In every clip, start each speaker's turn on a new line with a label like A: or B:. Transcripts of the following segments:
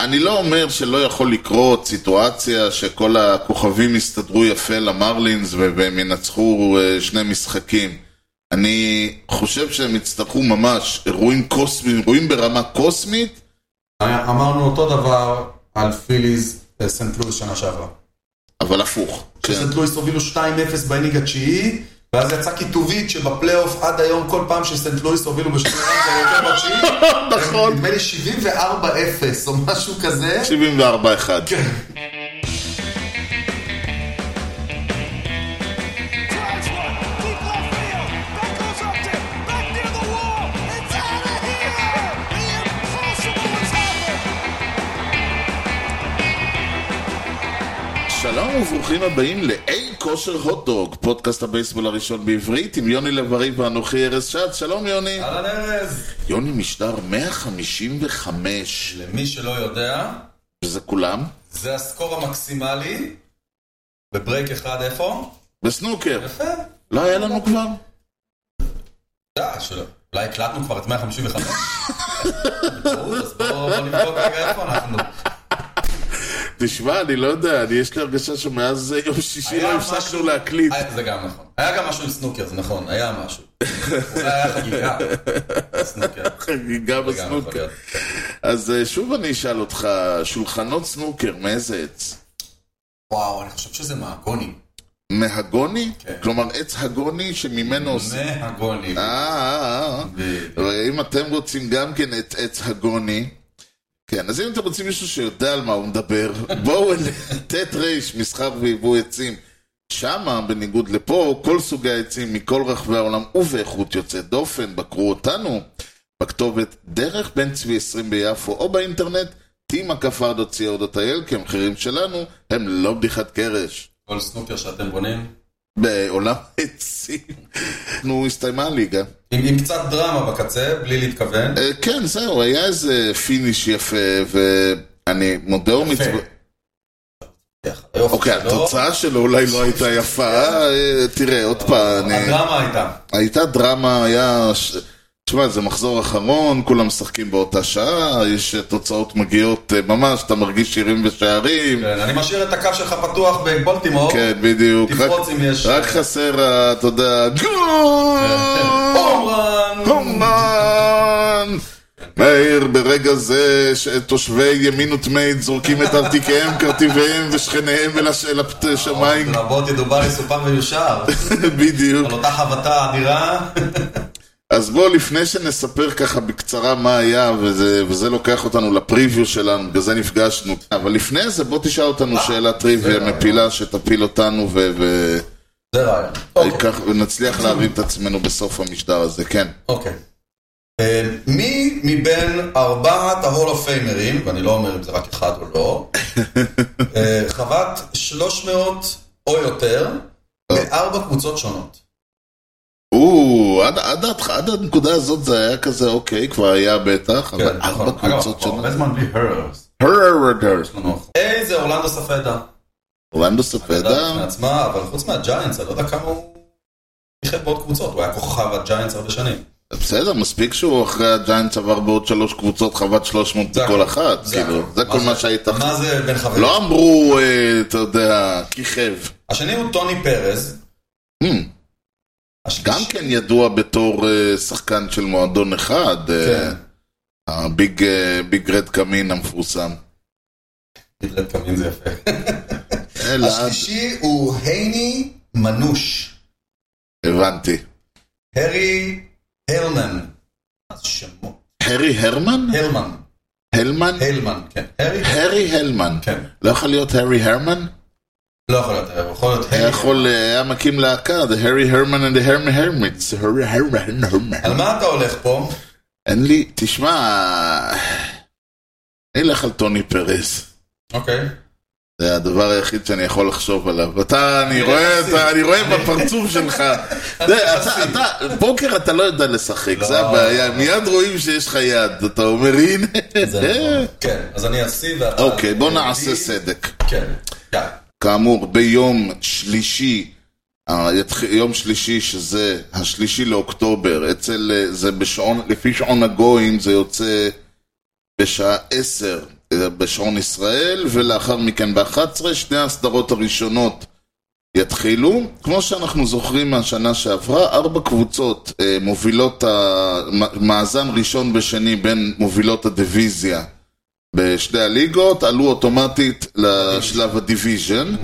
A: אני לא אומר שלא יכול לקרות סיטואציה שכל הכוכבים יסתדרו יפה למרלינס והם ינצחו אה, שני משחקים. אני חושב שהם יצטרכו ממש אירועים קוסמיים, אירועים ברמה קוסמית.
B: אמרנו אותו דבר על פיליז סנט לואיס שנה שעברה.
A: אבל הפוך. כן.
B: כשסנט לואיס הובילו 2-0 בליג התשיעי, ואז יצא קיטובית שבפלייאוף עד היום כל פעם שסנט לואיס הובילו בשני רמז או יותר בתשיעי,
A: נכון.
B: נדמה לי 74-0 או משהו כזה.
A: 74-1.
C: Drives one, deep left field. That goes up there, back near the wall. It's out of here. The impossible has happened.
A: שלום וברוכים הבאים לאי כושר הוטדוג, פודקאסט הבייסבול הראשון בעברית עם יוני לב-ארי ואנוכי ארז שץ. שלום יוני.
B: אהלן ארז.
A: יוני משדר 155,
B: למי שלא יודע,
A: וזה כולם?
B: זה הסקור המקסימלי. בברייק אחד איפה?
A: בסנוקר.
B: יפה.
A: לא היה לנו כבר?
B: אתה יודע, שלא. אולי הקלטנו כבר את 155. ברור, אז בואו בואו נבדוק רגע איפה אנחנו.
A: תשמע, אני לא יודע, אני יש לי הרגשה שמאז יום שישי לא
B: היה
A: הפסקנו
B: משהו-
A: להקליט.
B: היה- זה גם נכון. היה גם משהו עם סנוקר, זה נכון, היה משהו. אולי היה חגיגה. סנוקר.
A: חגיגה
B: זה גם יכול
A: בסנוקר.
B: להיות.
A: אז אה, שוב אני אשאל אותך, שולחנות סנוקר, מאיזה עץ?
B: וואו, אני חושב שזה מהגונים.
A: מהגוני?
B: כן.
A: כלומר, עץ הגוני שממנו עושים...
B: מהגונים.
A: אה, אה, אה. אבל אם אתם רוצים גם כן את עץ הגוני, כן, אז אם אתם רוצים מישהו שיודע על מה הוא מדבר, בואו אל ט' ר' מסחר ויבוא עצים. שמה, בניגוד לפה, כל סוגי העצים מכל רחבי העולם ובאיכות יוצאת דופן, בקרו אותנו בכתובת דרך בן צבי 20 ביפו או באינטרנט, טימה כפרדו co.il, כי המחירים שלנו הם לא בדיחת קרש.
B: כל סנוקר שאתם בונים.
A: בעולם עצים. נו, הסתיימה הליגה.
B: עם עם קצת דרמה בקצה, בלי להתכוון.
A: אה, כן, זהו, היה איזה פיניש יפה, ואני מודה ומצווה...
B: היופי
A: אוקיי,
B: שלו.
A: התוצאה שלו אולי לא הייתה יפה, אה, תראה, עוד פעם, אני-
B: הדרמה הייתה.
A: הייתה דרמה, היה... ש- תשמע, זה מחזור אחרון, כולם משחקים באותה שעה, יש אה, תוצאות מגיעות אה, ממש, אתה מרגיש שירים ושערים.
B: כן, אני משאיר את הקו שלך פתוח בבולטימור.
A: כן, בדיוק. רק-
B: תפרוץ אם יש...
A: רק חסר, ה- אתה יודע,
B: כן.
A: גול!
B: הומרן!
A: הומן! מאיר, ברגע זה שתושבי ימין וטמאית זורקים את ארתיקיהם, קרטיביהם ושכניהם אל הש- אל הפת- השמיים,
B: רבות ידובר יסופר ויושר.
A: בדיוק.
B: על אותה חבטה אדירה.
A: אז בואו, לפני שנספר ככה בקצרה מה היה, וזה, וזה לוקח אותנו לפריוויו שלנו, בגלל זה נפגשנו. אבל לפני זה, בוא תשאל אותנו שאלה טריוויה
B: בסדר.
A: מפילה שתפיל אותנו, ו- ו-
B: זה רעיון.
A: כך- ונצליח להרים את עצמנו בסוף המשדר הזה, כן.
B: אוקיי. אה, מי מבין ארבעת ההול אוף פיימרים, ואני לא אומר אם זה רק אחד או לא, אה, חבט 300 או יותר בארבע קבוצות שונות.
A: או, עד, עד, עד, עד הנקודה הזאת זה היה כזה אוקיי, כבר היה בטח, כן,
B: נכון.
A: אבל ארבע קבוצות שונות. נכון.
B: זמן בלי הרס.
A: הררררררררררררררררררררררררררררררררררררררררררררררררררררררררררר.
B: איי, זה אורלנדו ספדה.
A: אורלנדו
B: אגדה בפני
A: ספדה,
B: עצמה, אבל חוץ מהג'יינטס, אני לא יודע כמה הוא... ניחד בעוד קבוצות, הוא היה כוכב הג'יינטס הרבה שנים.
A: בסדר, מספיק שהוא אחרי הג'יינטס עבר בעוד שלוש קבוצות חוות 300
B: זה
A: בכל
B: הכל.
A: אחת, כאילו,
B: הכל.
A: זה כל מה שהיית...
B: מה זה בין חברים?
A: לא אמרו, אה, אתה יודע, כיכב.
B: השני הוא טוני פרז.
A: Hmm, גם
B: השלישי-
A: כן ידוע בתור אה, שחקן של מועדון אחד, אה,
B: כן.
A: הביג אה, ביג רד קמין המפורסם.
B: גדלת קמין זה יפה.
A: אלעד,
B: השלישי הוא הייני מנוש.
A: הבנתי.
B: הרי הרמן. מה זה שמות?
A: הרי הרמן?
B: הלמן.
A: הלמן?
B: הלמן, כן. הרי,
A: הרי הלמן.
B: כן.
A: לא יכול להיות הרי הרמן?
B: לא יכול להיות, הרי, יכול להיות
A: היה
B: הרי.
A: יכול, אה, היה מקים להקה, The Harry Herman and the Herman Hermits. Harry Herman Herman.
B: על מה אתה הולך פה?
A: אין לי, תשמע, אני אלך על טוני פרס.
B: אוקיי.
A: זה הדבר היחיד שאני יכול לחשוב עליו. אתה, אני רואה,
B: יחסי.
A: אתה, אני רואה בפרצוף שלך. זה, אתה, אתה, פוקר אתה לא יודע לשחק,
B: לא.
A: זה הבעיה. מיד רואים שיש לך יד. אתה אומר, הנה.
B: זה נכון. כן, אז אני אשיא ואתה...
A: אה. אוקיי, בוא
B: אני-
A: נעשה סדק.
B: כן. כן.
A: כאמור, ביום שלישי, אה, יתח- יום שלישי, שזה השלישי לאוקטובר, אצל, אה, זה בשעון, לפי שעון הגויים זה יוצא בשעה עשר, בשעון ישראל, ולאחר מכן ב-11, שתי הסדרות הראשונות יתחילו. כמו שאנחנו זוכרים מהשנה שעברה, ארבע קבוצות אה, מובילות, ה- מ- מאזן ראשון ושני בין מובילות הדיוויזיה בשתי הליגות, עלו אוטומטית לשלב הדיוויז'ן,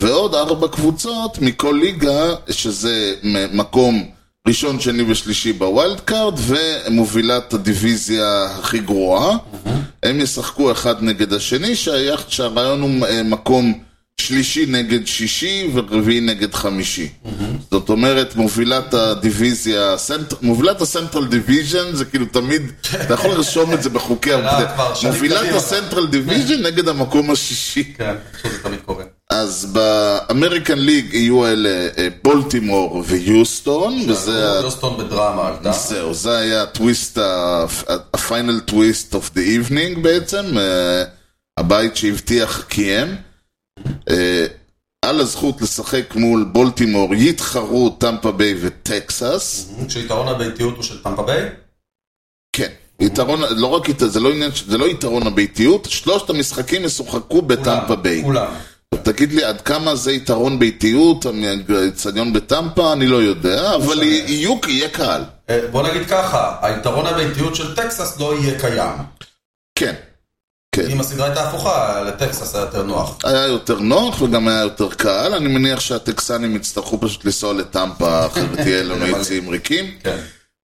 A: ועוד ארבע קבוצות מכל ליגה, שזה מ- מקום ראשון, שני ושלישי בווילד קארד, ומובילת הדיוויזיה הכי גרועה. הם ישחקו אחד נגד השני, שהיה- שהרעיון הוא אה, מקום שלישי נגד שישי ורביעי נגד חמישי. זאת אומרת, מובילת הדיוויזיה, הסנט- מובילת הסנטרל דיוויז'ן זה כאילו תמיד, אתה יכול לרשום את זה בחוקי העבודה.
B: אה, כבר שנים
A: מובילת
B: קדימה.
A: הסנטרל דיוויז'ן נגד המקום השישי.
B: כן, פשוט זה תמיד קורה.
A: אז באמריקן ליג יהיו אלה אה, בולטימור
B: כן,
A: ויוסטון, וזה ה-
B: לא יוסטון בדרמה עלתה.
A: זהו, זה היה הטוויסט, הפיינל טוויסט אוף דה איבנינג בעצם, אה, הבית שהבטיח קיים. אה, על הזכות לשחק מול בולטימור יתחרו טמפה ביי וטקסס.
B: כשיתרון הביתיות הוא של טמפה ביי?
A: כן, יתרון, לא רק, ית- זה לא עניין, ש- זה לא יתרון הביתיות, שלושת המשחקים ישוחקו בטמפה ביי.
B: כולם.
A: תגיד לי, עד כמה זה יתרון ביתיות, האצטדיון בטמפה, אני לא יודע, אבל יהיו, יהיה קהל.
B: אה, בוא נגיד ככה, היתרון הביתיות של טקסס לא יהיה קיים.
A: כן.
B: אם הסדרה הייתה הפוכה, לטקסס היה יותר נוח.
A: היה יותר נוח וגם היה יותר קל, אני מניח שהטקסנים יצטרכו פשוט לנסוע לטמפה, אחרת יהיה לנו יציאים ריקים.
B: כן.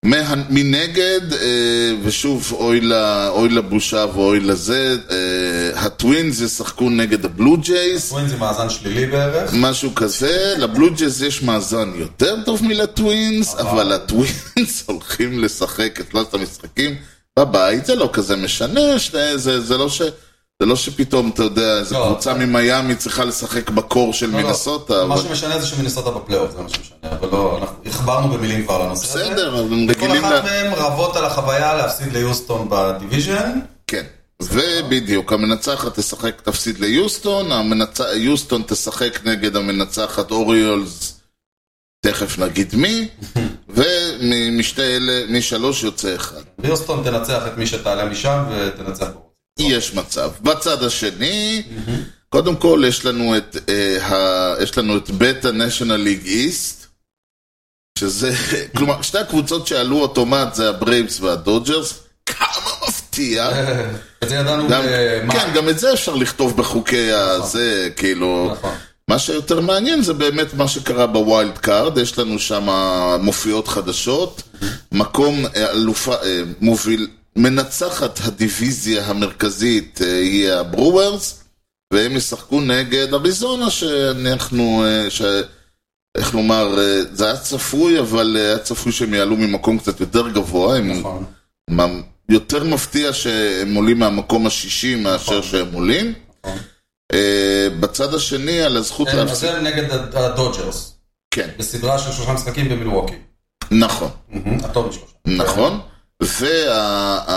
A: מה- מנגד, אה, ושוב, אוי ל- אוי לבושה ואוי לזה, אה, הטווינס ישחקו נגד הבלו ג'ייז,
B: סווין זה מאזן שלילי בערך.
A: משהו כזה, לבלו ג'ייז יש מאזן יותר טוב מלטווינס, אבל הטווינס הולכים לשחק את שלושת המשחקים בבית, זה לא כזה משנה, שני- זה זה לא ש... זה לא שפתאום, אתה יודע, איזו
B: לא.
A: קבוצה ממיאמי צריכה לשחק בקור של
B: לא, לא.
A: מינסוטה,
B: מה
A: אבל
B: שמשנה זה שמינסוטה בפלייאוף, זה מה שמשנה. אבל לא, אנחנו הכברנו במילים כבר לנושא הזה.
A: בסדר, אבל הם
B: כל
A: רגילים
B: אחת
A: ל...
B: מהן רבות על החוויה להפסיד ליוסטון בדיוויז'ן.
A: כן. ובדיוק, המנצחת תשחק, תפסיד ליוסטון, המנצ... יוסטון תשחק נגד המנצחת אוריולס, תכף נגיד מי, ומשתי אלה, משלוש יוצא אחד.
B: ויוסטון תנצח את מי שתעלה משם ותנצח בו.
A: יש מצב. בצד השני, קודם כל יש לנו את, אה, ה... יש לנו את בטה ניישנל ליג איסט, שזה, כלומר, שתי הקבוצות שעלו אוטומט זה הברייבס והדודג'רס, כמה מפתיע.
B: את זה ידענו
A: גם,
B: במאי.
A: כן, גם את זה אפשר לכתוב בחוקי הזה, כאילו...
B: נכון.
A: מה שיותר מעניין זה באמת מה שקרה בווילד קארד, יש לנו שם מופיעות חדשות, מקום אה, אלופה, אה, מוביל, מנצחת הדיוויזיה המרכזית אה, היא הברוארס, והם ישחקו נגד אריזונה, שאנחנו, אה, ש... איך לומר, אה, זה היה צפוי, אבל אה, היה צפוי שהם יעלו ממקום קצת יותר גבוה, הם
B: נכון.
A: מה- יותר מפתיע שהם עולים מהמקום השישי מאשר
B: נכון.
A: שהם עולים.
B: נכון.
A: אה, בצד השני, על הזכות
B: הם- כן, אז
A: להפסיד...
B: הם נגד הד- הדודג'רס,
A: כן,
B: בסדרה של שלושה משחקים במילווקי.
A: נכון,
B: הטוב משלושה.
A: נכון.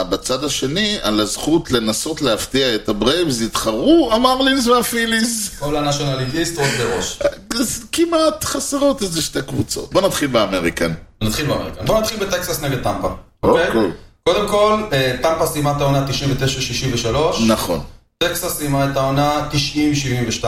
A: ובצד השני, על הזכות לנסות להפתיע את הברייבס, התחרו המרלינס והפיליז.
B: כל הנשיונל ליגיסט עוד בראש.
A: אז כמעט חסרות איזה שתי קבוצות. בוא נתחיל באמריקן.
B: נתחיל באמריקה. בוא נתחיל בטקסס נגד טמפה. אוקיי?
A: אוקיי.
B: קודם כל, אה, טמפה סיימה את העונה 99-63,
A: נכון.
B: טקסס סיימה את העונה 90-72,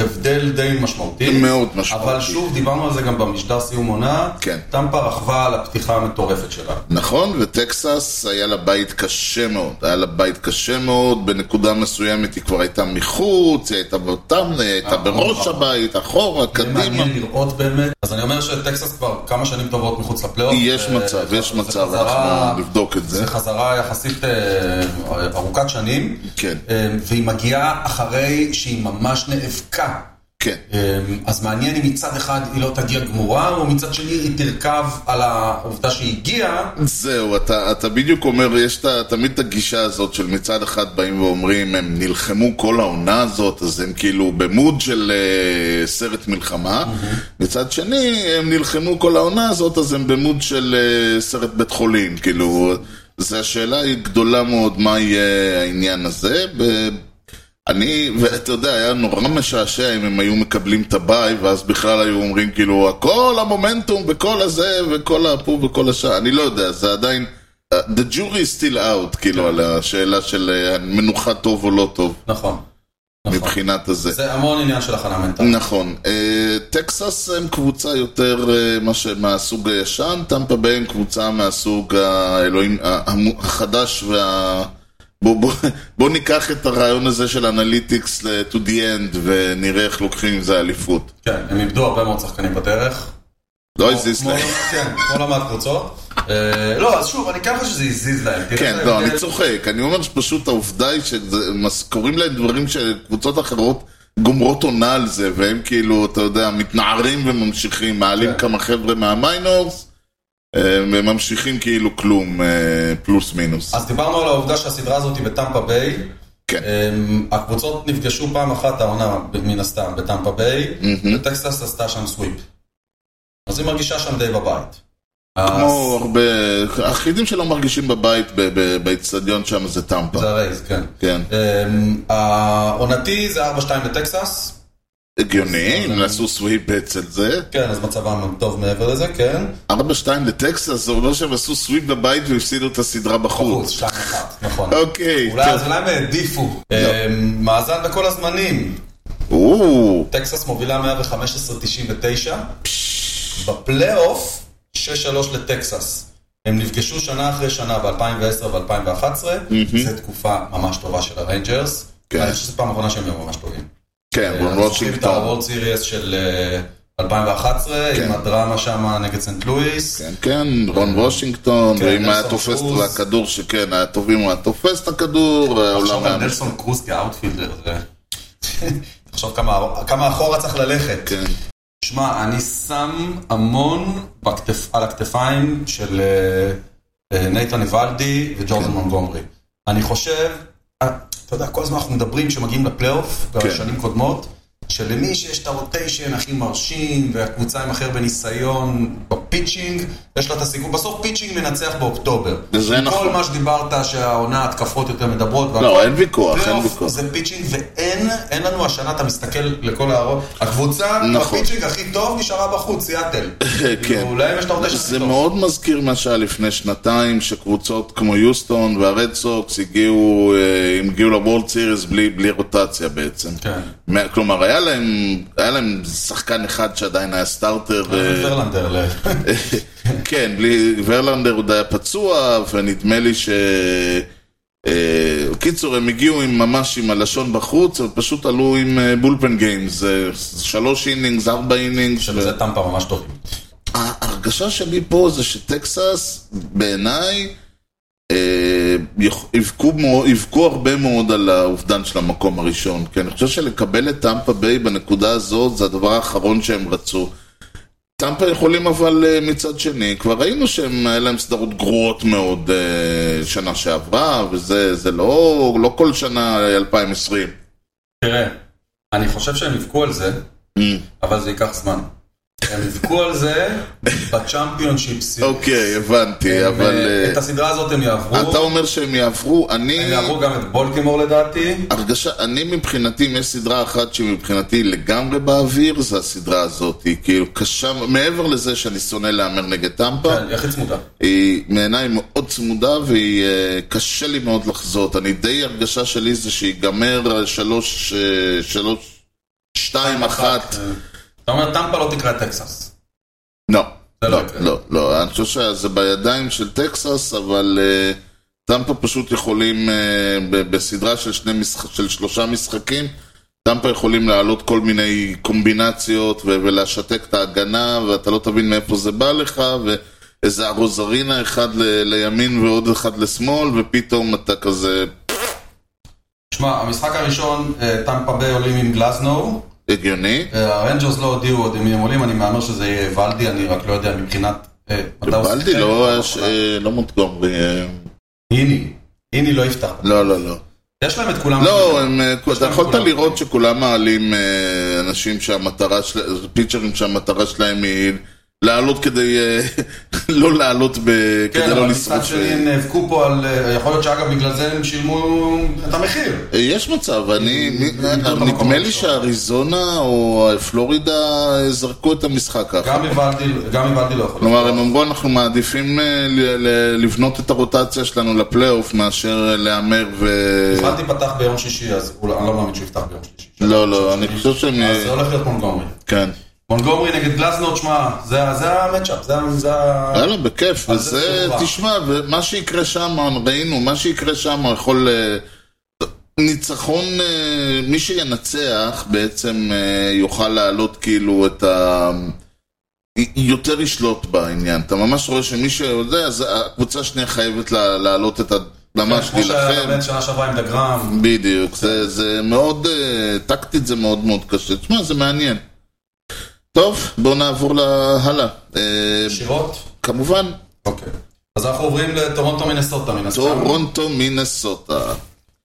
B: הבדל די משמעותי.
A: מאוד משמעותי.
B: אבל שוב, דיברנו על זה גם במשדר סיום עונה,
A: כן.
B: טמפה רכבה על הפתיחה המטורפת שלה.
A: נכון, וטקסס היה לה בית קשה מאוד. היה לה בית קשה מאוד, בנקודה מסוימת היא כבר הייתה מחוץ, היא הייתה באותם, היא הייתה בראש הבית, אחורה,
B: אה, זה
A: קדימה.
B: מעניין לראות באמת. אז אני אומר שטקסס כבר כמה שנים טובות מחוץ לפלייאוף.
A: יש
B: אה,
A: מצב, יש
B: זה
A: מצב,
B: חזרה-
A: אנחנו נבדוק את זה.
B: זה חזרה יחסית אה, ארוכת שנים.
A: כן.
B: אה, והיא מגיעה אחרי שהיא ממש נאבקה.
A: כן.
B: אה, אז מעניין אם מצד אחד היא לא תגיע גמורה, או מצד שני היא תרכב על העובדה שהיא הגיעה.
A: זהו, אתה, אתה בדיוק אומר, יש את, ה- תמיד את הגישה הזאת של מצד אחד באים ואומרים, הם נלחמו כל העונה הזאת, אז הם כאילו במוד של uh, סרט מלחמה. מצד שני, הם נלחמו כל העונה הזאת, אז הם במוד של uh, סרט בית חולים. כאילו, זו השאלה היא גדולה מאוד, מה יהיה העניין הזה. ב- אני, ואתה יודע, היה נורא משעשע אם הם היו מקבלים את הביי, ואז בכלל היו אומרים כאילו, כל המומנטום וכל הזה, וכל הפו וכל השעה, אני לא יודע, זה עדיין, The jury is still out, כאילו, על השאלה של אה, מנוחה טוב או לא טוב,
B: נכון. נכון.
A: מבחינת הזה.
B: זה המון עניין של הכנה מנטלית.
A: נכון. אה, טקסס הם קבוצה יותר אה, מה ש- מהסוג הישן, טמפה ביי הם קבוצה מהסוג האלוהים ה- המו- החדש וה... בוא, בוא, בוא ניקח את הרעיון הזה של אנליטיקס ל- to the end ונראה איך לוקחים עם זה אליפות.
B: כן, הם איבדו הרבה מאוד שחקנים בדרך.
A: נכון. לא הזיז
B: כמו-
A: להם.
B: כן, כמו לא מעט קבוצות. אה, לא, אז שוב, אני כן חושב שזה הזיז להם. תראה
A: כן,
B: את
A: לא,
B: ההבדל.
A: אני צוחק. אני אומר שפשוט העובדה היא שקוראים להם דברים שקבוצות אחרות גומרות עונה על זה, והם כאילו, אתה יודע, מתנערים וממשיכים, מעלים
B: כן.
A: כמה חבר'ה מהמיינורס, אה, וממשיכים כאילו כלום, אה, פלוס מינוס.
B: אז דיברנו על העובדה שהסדרה הזאת היא בטמפה ביי.
A: כן.
B: אמ, הקבוצות נפגשו פעם אחת העונה, מן הסתם, בטמפה ביי, וטקסס עשתה שם סוויפ. אז היא מרגישה שם די בבית.
A: כמו הרבה, היחידים שלא מרגישים בבית, ב- ב- באצטדיון שם זה טמפה.
B: אז זה הרייז, כן.
A: כן.
B: אמ, העונתי זה 4-2 לטקסס.
A: הגיוני, אם נעשו סוויפ אצל זה.
B: כן, אז מצבם טוב מעבר לזה, כן.
A: 4-2 לטקסס, זה אומר שהם עשו סוויפ בבית והפסידו את הסדרה
B: חוץ,
A: בחוץ.
B: 2-1, נכון.
A: אוקיי.
B: אולי
A: טוב. לא.
B: אז אולי הם העדיפו. אמ, מאזן בכל הזמנים.
A: או,
B: טקסס מובילה 115-99. בפלייאוף, 6-3 לטקסס. הם נפגשו שנה אחרי שנה ב-2010 ו-2011. זו תקופה ממש טובה של הריינג'רס.
A: כן.
B: אני חושב שזו פעם אחרונה שהם היו ממש טובים.
A: כן,
B: אנחנו זוכרים את
A: וושינגטון.
B: הוורד סיריאס של אה, 2011, עם הדרמה שם נגד סנט לואיס.
A: כן, כן, רון וושינגטון,
B: כן,
A: ואם היה
B: נלסון
A: תופס את
B: קרוז.
A: הכדור, שכן, היה טובים, הוא היה תופס את
B: כן,
A: הכדור, העולם
B: תחשוב על
A: היה...
B: נלסון קרוז כאאוטפילדר. זה- תחשוב כמה- כמה אחורה צריך ללכת.
A: כן,
B: שמע, אני שם המון בכתף, על הכתפיים של אה, אה, נייתן איוולדי
A: כן.
B: וג'ורדן מונגומרי. אני חושב, אה, אתה יודע, כל הזמן אנחנו מדברים כשמגיעים לפלייאוף,
A: כן.
B: בשנים קודמות, שלמי שיש את הרוטיישן הכי מרשים, והקבוצה עם הכי הרבה ניסיון בפיצ'ינג, יש לה את הסיכוי. בסוף פיצ'ינג מנצח באוקטובר.
A: וזה
B: עם
A: נכון.
B: כל מה שדיברת, שהעונה, התקפות יותר מדברות. והכל.
A: לא, אין ויכוח, אין
B: פלייאוף
A: ויכוח.
B: זה פיצ'ינג, ואין אין לנו השנה, אתה מסתכל לכל הערות, הקבוצה,
A: נכון.
B: הפיצ'ינג הכי טוב נשארה בחוץ, סיאטל. כאילו,
A: כן.
B: אולי יש את העובדה שזה
A: זה
B: טוב.
A: מאוד מזכיר מה שהיה לפני שנתיים, שקבוצות כמו יוסטון והרד סוקס הגיעו, אה, הם הגיעו לוורד סיריס בלי בלי רוטציה בעצם.
B: כן.
A: מה- כלומר, היה להם היה להם שחקן אחד שעדיין היה סטארטר. אה,
B: ורלנדר, ל-
A: כן, בלי... ורלנדר עוד היה פצוע, ונדמה לי ש... אה, קיצור, הם הגיעו עם, ממש עם הלשון בחוץ, הם פשוט עלו עם אה, בולפן גיימס, אה, שלוש אינינגס, ארבע אינינגס. ו-
B: שזה טמפה ממש טוב.
A: ההרגשה שלי פה זה שטקסס, בעיניי, אה, יכ- יבכו מו- יבכו הרבה מאוד על האובדן של המקום הראשון. כי אני חושב שלקבל את טמפה ביי בנקודה הזאת, זה הדבר האחרון שהם רצו. טמפה יכולים אבל אה, מצד שני, כבר ראינו שהם, היה להם סדרות גרועות מאוד אה, שנה שעברה, וזה זה לא, לא כל שנה אה, 2020.
B: תראה, אני חושב שהם יבכו על זה,
A: Mm.
B: אבל זה ייקח זמן. הם יבכו על זה בצ'מפיונשיפ סיריס.
A: אוקיי, הבנתי,
B: הם,
A: אבל
B: כן. אה,
A: אה,
B: את הסדרה הזאת הם יעברו,
A: אתה אומר שהם יעברו, אני...
B: הם יעברו גם את בולטימור לדעתי.
A: הרגשה, אני מבחינתי, אם יש סדרה אחת שמבחינתי לגמרי באוויר, זה הסדרה הזאת. היא כאילו קשה, מעבר לזה שאני שונא להמר נגד טמפה,
B: כן, היא הכי צמודה.
A: היא מעיניי מאוד צמודה והיא אה, קשה לי מאוד לחזות. אני די, הרגשה שלי זה שיגמר אה, שלוש, אה, שלוש, שתיים, אחת.
B: אה, אתה אומר, טמפה לא תקרא את טקסס.
A: לא,
B: זה לא
A: לא,
B: יקרה.
A: לא, לא. אני חושב שזה בידיים של טקסס, אבל... אה, טמפה פשוט יכולים, אה, ב- בסדרה של, שני משח... של שלושה משחקים, טמפה יכולים להעלות כל מיני קומבינציות ו- ולשתק את ההגנה, ואתה לא תבין מאיפה זה בא לך, ואיזה ארוזרינה אחד ל- לימין ועוד אחד לשמאל, ופתאום אתה כזה
B: שמע, המשחק הראשון, אה, טמפה ביי עולים עם גלזנו,
A: הגיוני.
B: אה, הרנג'רס לא הודיעו עוד עם מי הם עולים, אני מהמר שזה יהיה ולדי, אני רק לא יודע מבחינת... אה, מתי הוא
A: גוואלדי
B: שיחק.
A: לא, היה ש- אה, לא מונטגומרי, אה,
B: איני, איני לא יפתח.
A: לא, לא, לא.
B: יש להם את כולם.
A: לא, הם, אה, אתה
B: להם
A: יכולת
B: כולם.
A: לראות שכולם מעלים אה, אנשים שהמטרה שלהם, פיצ'רים שהמטרה שלהם היא לעלות כדי... אה, לא לעלות ב...
B: כן,
A: כדי
B: אבל
A: לא
B: מצד
A: לשרוף.
B: שני הם נאבקו פה על... אה, יכול להיות שאגב בגלל זה הם שילמו את המחיר.
A: אה, יש מצב, אני... מי-
B: לא
A: אה,
B: במקום
A: נדמה לי
B: הראשון.
A: שאריזונה או פלורידה אה, זרקו את המשחק ככה.
B: גם הבנתי, גם הבנתי לא יכול.
A: כלומר, הם אמרו, אנחנו מעדיפים אה, ל- ל- לבנות את הרוטציה שלנו לפלייאוף מאשר אה, להמר ו...
B: הבנתי פתח ביום שישי, אז אולי- אני לא מאמין שהוא יפתח ביום שלישי.
A: לא, לא, אני חושב שהם...
B: אז זה הולך להיות מונגומרי.
A: כן.
B: מונגומרי נגד גלזנור, שמע, זה זה המצ'אפ, זה- זה ה...
A: יאללה, לא, בכיף,
B: אז זה
A: וזה,
B: תשובה.
A: תשמע, ומה שיקרה שם, ראינו, מה שיקרה שם יכול... אה, ניצחון, אה, מי שינצח בעצם אה, יוכל להעלות כאילו את ה... י- יותר ישלוט בעניין. אתה ממש רואה שמי שיודע, אז הקבוצה השנייה חייבת לה- להעלות את ה... ממש
B: כן, כמו שהיה
A: להילחם. כן.
B: לבן שנה שעברה עם דגרם.
A: בדיוק, זה, זה מאוד, אה, טקטית זה מאוד מאוד קשה. תשמע, זה מעניין. טוב, בואו נעבור לה- הלאה. אה,
B: ישירות?
A: כמובן,
B: אוקיי. אז אנחנו עוברים לטורונטו מינסוטה מן הסתם.
A: טורונטו מינסוטה.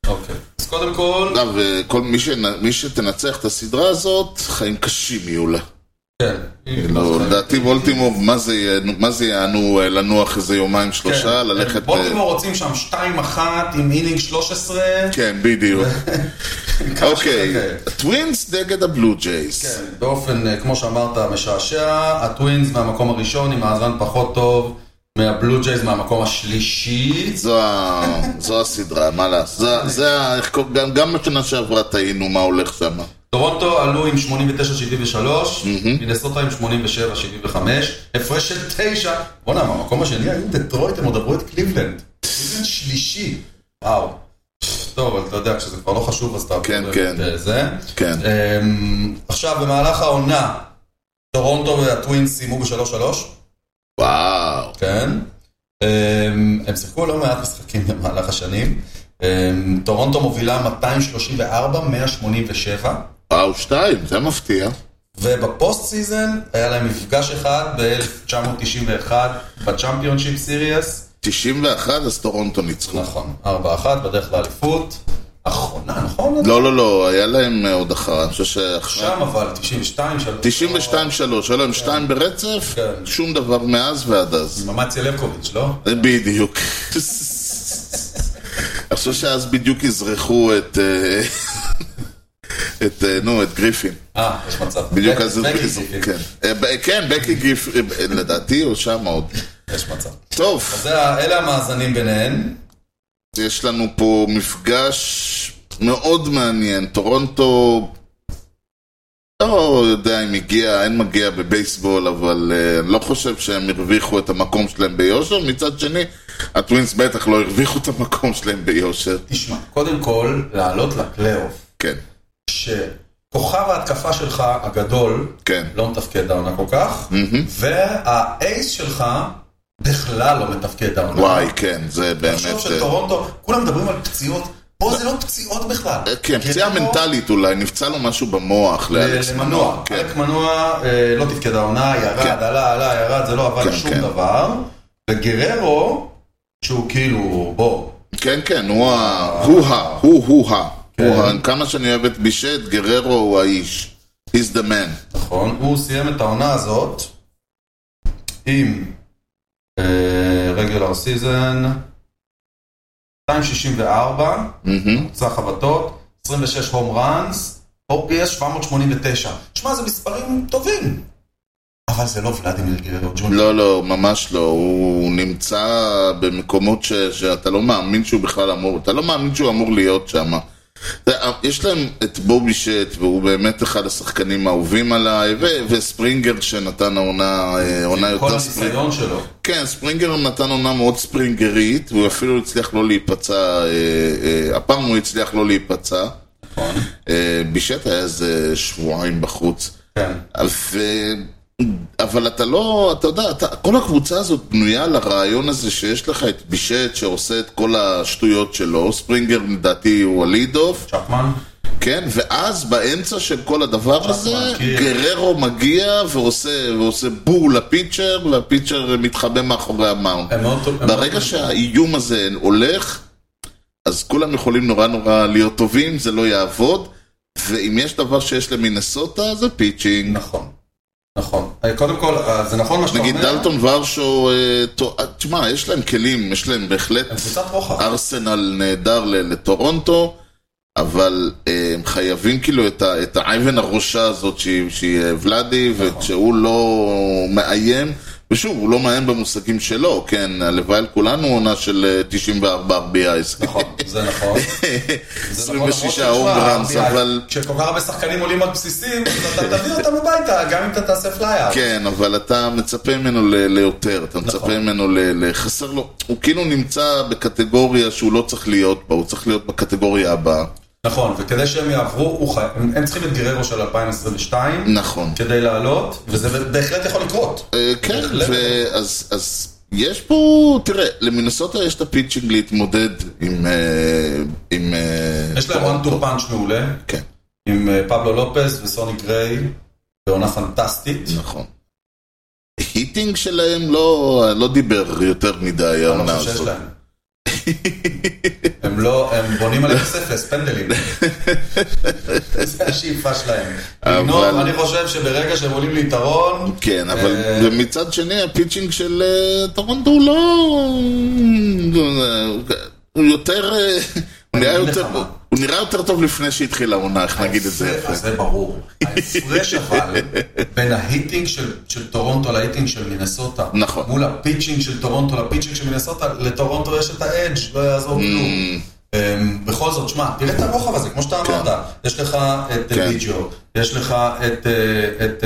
B: אוקיי. אז קודם כל,
A: אגב, אה, כל מי, שנ... מי שתנצח את הסדרה הזאת, חיים קשים יהיו לה.
B: כן.
A: לא, לדעתי בולטימור, מה זה יהיה- מה זה יענו אה, לנוח איזה יומיים שלושה, ללכת... אה,
B: כן. בולטימור רוצים שם 2-1 עם אינינג 13.
A: כן, בדיוק.
B: כמה
A: אוקיי,
B: שיותר כאלה.
A: טווינס נגד הבלו ג'ייס.
B: כן, באופן, אה, כמו שאמרת, משעשע, הטווינס מהמקום הראשון עם מאזן פחות טוב, מהבלו ג'ייז מהמקום השלישי.
A: זו, ה... זו הסדרה, מה לעשות? זה, זה ה... איך קוראים- גם, גם בשנה שעברה טעינו מה הולך שם.
B: טורונטו עלו עם 89-73, מינסוטה עם 87-75, הפרש של 9, בואנה, מהמקום השני היו דטרויט, הם עוד עברו את קליבלנד. קליבלנד שלישי, וואו. טוב, אבל אתה יודע, כשזה כבר לא חשוב, אז אתה...
A: כן,
B: עובר
A: כן.
B: את זה.
A: כן.
B: אמ, עכשיו, במהלך העונה, טורונטו והטווינס סיימו ב-3-3,
A: וואו.
B: כן. אמ, הם שיחקו לא מעט משחקים במהלך השנים. אמ, טורונטו מובילה 234-187.
A: וואו שתיים, זה מפתיע.
B: ובפוסט סיזן היה להם מפגש אחד ב-1991 בצ'מפיונשיפ סיריאס.
A: 91, אז טורונטו ניצחו.
B: נכון, 4-1 בדרך לאליפות. אחרונה, נכון?
A: לא, לא, לא, היה להם אה, עוד אחר, אני חושב שעכשיו...
B: שם אבל, 92, 3.
A: 92-3, היה להם שתיים ברצף,
B: כן.
A: שום דבר מאז ועד אז.
B: ממציה לבקוביץ', לא?
A: בדיוק. אני חושב שאז בדיוק יזרחו את... אה, את, אה, נו, את גריפין.
B: אה, יש מצב.
A: בדיוק
B: בק-
A: אז זה
B: בקי
A: חיזוק,
B: גיפין.
A: כן. אה, ב- כן, בקי גיף, אה, לדעתי, או שם עוד.
B: יש מצב.
A: טוב,
B: אז זה ה- אלה המאזנים ביניהן.
A: יש לנו פה מפגש מאוד מעניין. טורונטו, לא יודע אם הגיע, אין מגיע בבייסבול, אבל אה, אני לא חושב שהם הרוויחו את המקום שלהם ביושר. מצד שני, הטווינס בטח לא הרוויחו את המקום שלהם ביושר.
B: תשמע, קודם כל, לעלות לפלייאוף,
A: כן,
B: שכוכב ההתקפה שלך הגדול
A: כן.
B: לא מתפקד העונה כל כך, והאייס שלך בכלל לא מתפקד העונה.
A: וואי, כן, זה באמת...
B: תחשוב
A: אה,
B: שטורונטו, כולם מדברים על פציעות, פה זה לא פציעות בכלל.
A: כן, פציעה
B: גרמו
A: מנטלית אולי, נפצע לו משהו במוח לאלכס
B: אה, למנוע,
A: כן.
B: אלק מנוע אה, לא תפקד העונה,
A: כן.
B: ירד, עלה, עלה, ירד, זה לא
A: כן,
B: עבד שום
A: כן.
B: דבר. וגררו, שהוא כאילו, בוא,
A: כן, כן, הוא ה... הוא ה... הוא הוא ה... הוא ה... כמה שאני אוהב את בישט, גררו הוא האיש. He's the man.
B: נכון, הוא סיים את העונה הזאת עם אה, רגולר סיזן 264,
A: מהמם.
B: ממוצע חבטות, 26 הום ראנס, OPS 789. שמע, זה מספרים טובים. אבל זה לא ולדימיר גררו ג'וניור.
A: לא, לא, ממש לא. הוא נמצא במקומות ש... שאתה לא מאמין שהוא בכלל אמור... אתה לא מאמין שהוא אמור להיות שם. אתה- יש להם את בובי שט, והוא באמת אחד השחקנים האהובים עליי, ו... וספרינגר שנתן העונה אה, עונה
B: כל
A: יותר ספרינגר.
B: הניסיון שלו.
A: כן, ספרינגר נתן עונה מאוד ספרינגרית, והוא אפילו הצליח לא להיפצע, אה, אה, הפעם הוא הצליח לא להיפצע. אה, בישט היה איזה שבועיים בחוץ.
B: כן.
A: ו... אבל אתה לא, אתה יודע, אתה, כל הקבוצה הזאת בנויה על הרעיון הזה שיש לך את בישט שעושה את כל השטויות שלו, ספרינגר לדעתי הוא הליד אוף,
B: צ'פמן?
A: כן, ואז באמצע של כל הדבר הזה,
B: מגיע.
A: גררו מגיע ועושה, ועושה בור לפיצ'ר, והפיצ'ר מתחבא מאחורי המאונט.
B: הם מאוד טובים.
A: ברגע שהאיום הזה הולך, אז כולם יכולים נורא נורא להיות טובים, זה לא יעבוד, ואם יש דבר שיש למינסוטה, זה פיצ'ינג.
B: נכון. נכון. אה, קודם כל, אה, זה נכון מה שאתה אומר.
A: נגיד דלטון ורשו, אה, טו- אה, תשמע, יש להם כלים, יש להם בהחלט
B: הם קבוצת
A: אה,
B: רוחב.
A: ארסנל נהדר ל- לטורונטו, אבל אה, הם חייבים כאילו את ה- את האייבן הראשה הזאת שהיא- שהיא אה, ולאדי,
B: נכון.
A: וכשהוא לא מאיים, ושוב, הוא לא מאיים במושגים שלו, כן, הלוואי על כולנו עונה של אה, 94 RBIs.
B: נכון, זה נכון. זה
A: 26
B: נכון, למרות שתשמע,
A: הומראנס,
B: ה-RBI,
A: אבל...
B: כשכל כך הרבה שחקנים עולים על בסיסים, אז אתה תביא אותם הביתה, גם אם אתה תעשה פלייר.
A: כן, אבל אתה מצפה ממנו ל- ליותר, אתה
B: נכון.
A: מצפה ממנו ל- לחסר לו. הוא כאילו נמצא בקטגוריה שהוא לא צריך להיות בה, הוא צריך להיות בקטגוריה הבאה.
B: נכון, וכדי שהם יעברו, הוא חי- הם הם צריכים את גררו של 2022
A: נכון.
B: כדי לעלות, וזה בהחלט יכול לקרות.
A: אה, כן,
B: בהחלט.
A: ו- אז- אז יש פה, תראה, למינסוטה יש את הפיצ'ינג להתמודד עם... אה, עם אה,
B: יש להם one two punch מעולה,
A: כן,
B: עם אה, פבלו לופס וסוני גריי, בעונה פנטסטית.
A: נכון. היטינג שלהם לא, לא דיבר יותר מדי
B: אני
A: העונה
B: לא חושב שיש
A: הזאת.
B: להם. הם לא, הם בונים על 0-0, פנדלים. זה השאיפה שלהם.
A: אבל-
B: לגנוב, אני חושב שברגע שהם עולים ליתרון,
A: כן, אבל
B: אה,
A: מצד שני הפיצ'ינג של אה, טורונטו הוא לא... הוא יותר... אה, הוא נראה
B: אגיד לך
A: יותר-
B: מה.
A: הוא נראה יותר טוב לפני שהתחילה העונה, איך נגיד את זה יפה.
B: אז זה ברור. ההפרש אבל בין ההיטינג של, של טורונטו להיטינג של מינסוטה.
A: נכון.
B: מול הפיצ'ינג של טורונטו לפיצ'ינג של מינסוטה, לטורונטו יש את האדג', לא יעזור
A: Mm.
B: כלום. אמ, בכל זאת, שמע, תראה את הרוחב הזה, כמו שאתה אמרת. יש לך את
A: כן.
B: אה, ביג'ו, יש לך את, אה, את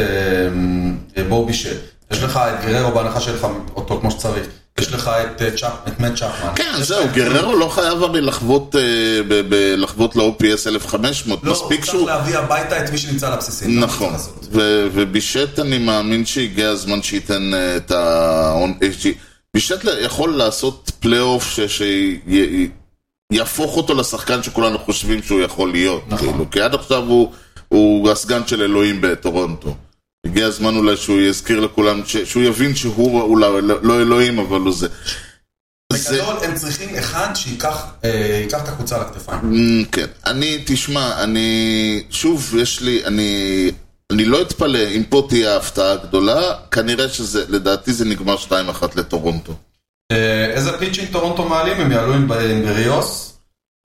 B: אמ, אה, בובישה, יש לך את גררו בהנחה שיהיה לך אותו כמו שצריך. יש לך את, אה, צ'אפ- את מאט צ'פמן.
A: כן, זהו, גררו לא חייב הרי לחוות, אה, ב- ב- לחוות ל-OPS 1500,
B: לא, הוא
A: מספיק
B: צריך
A: שהוא...
B: להביא הביתה את מי שנמצא על הבסיסים. זה מה שהוא
A: נכון,
B: צריך לעשות.
A: ו- ובישט אני מאמין שהגיע הזמן שייתן אה, את ה... בישט ל- יכול לעשות פלייאוף שיהפוך אותו לשחקן שכולנו חושבים שהוא יכול להיות,
B: נכון.
A: כאילו, כי עד עכשיו הוא- הוא הסגן של אלוהים בטורונטו. הגיע הזמן אולי שהוא יזכיר לכולם, ש- שהוא יבין שהוא אולי לא אלוהים, אבל הוא זה. זה-
B: בגדול הם צריכים אחד שייקח אה, ייקח את הקבוצה על הכתפיים.
A: Mm, כן. אני, תשמע, אני... שוב, יש לי... אני... אני לא אתפלא אם פה תהיה ההפתעה הגדולה, כנראה שזה, לדעתי זה נגמר 2-1 לטורונטו.
B: אה, איזה פיצ'ינג טורונטו מעלים? הם יעלו עם ב- עם בריוס.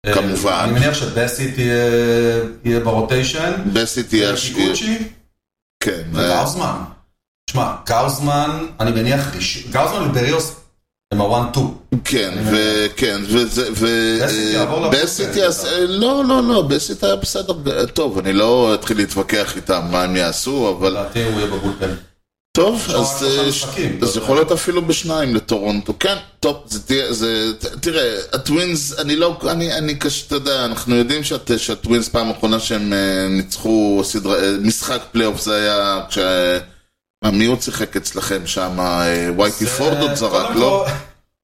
B: אה,
A: כמובן.
B: אני מניח שבסי תהיה יהיה ברוטיישן. אה,
A: בסי תהיה השקיעה.
B: קיקוצ'י
A: כן. אה,
B: וגאוזמן. שמע, גאוזמן, אני מניח, ראש- גאוזמן ובריוס הם הוואן טו.
A: כן, וכן, וזה, ו...
B: בסי תעבור
A: אה,
B: לבוסטון,
A: בסי תהיה...
B: לדעתי.
A: אה, לא, לא, לא, בסי תהיה בסדר. טוב, אני לא אתחיל להתווכח איתם מה הם יעשו, אבל...
B: לדעתי הוא יהיה בבולפן.
A: טוב,
B: לא,
A: אז
B: רק שלושה
A: אה, ש-
B: משחקים. לא
A: אז יכול להיות אפילו בשניים לטורונטו, כן, טוב, זה תהיה, זה, ת- תראה, הטווינס, אני לא, אני, אני קשה, אתה יודע, אנחנו יודעים שאת, שהטווינס פעם אחרונה שהם אה, ניצחו סדרה, אה, משחק פלייאוף זה היה כש... מה, מי עוד שיחק אצלכם שם? אה, וייטי
B: זה-
A: פורד עוד זרק,
B: קודם
A: לא?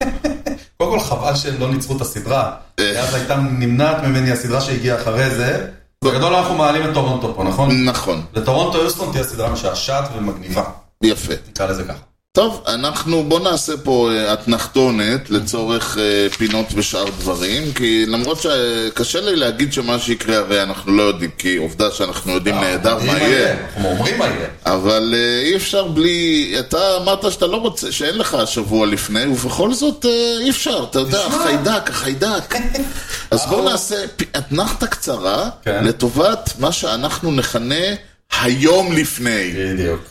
B: כל- קודם כל חבל שהם לא ניצחו את הסדרה.
A: אה.
B: אז הייתה נמנעת ממני הסדרה שהגיעה אחרי זה. בגדול אנחנו מעלים את טורונטו פה, נכון?
A: נכון,
B: לטורונטו יוסטון תהיה סדרה משעשעת ומגניבה,
A: יפה.
B: נקרא לזה ככה.
A: טוב, אנחנו בוא נעשה פה אה, אתנחתונת לצורך אה, פינות ושאר דברים, כי למרות שקשה לי להגיד שמה שיקרה הרי אנחנו לא יודעים, כי עובדה שאנחנו
B: אה,
A: יודעים נהדר מה יהיה,
B: אנחנו אומרים מה יהיה.
A: אבל אה, אי אפשר בלי... אתה אמרת שאתה לא רוצה, שאין לך שבוע לפני, ובכל זאת אה, אי אפשר, אתה יודע,
B: תשמע.
A: החיידק, החיידק. אז בואו נעשה פ- אתנחתה קצרה
B: כן.
A: לטובת מה שאנחנו נכנה היום לפני.
B: בדיוק.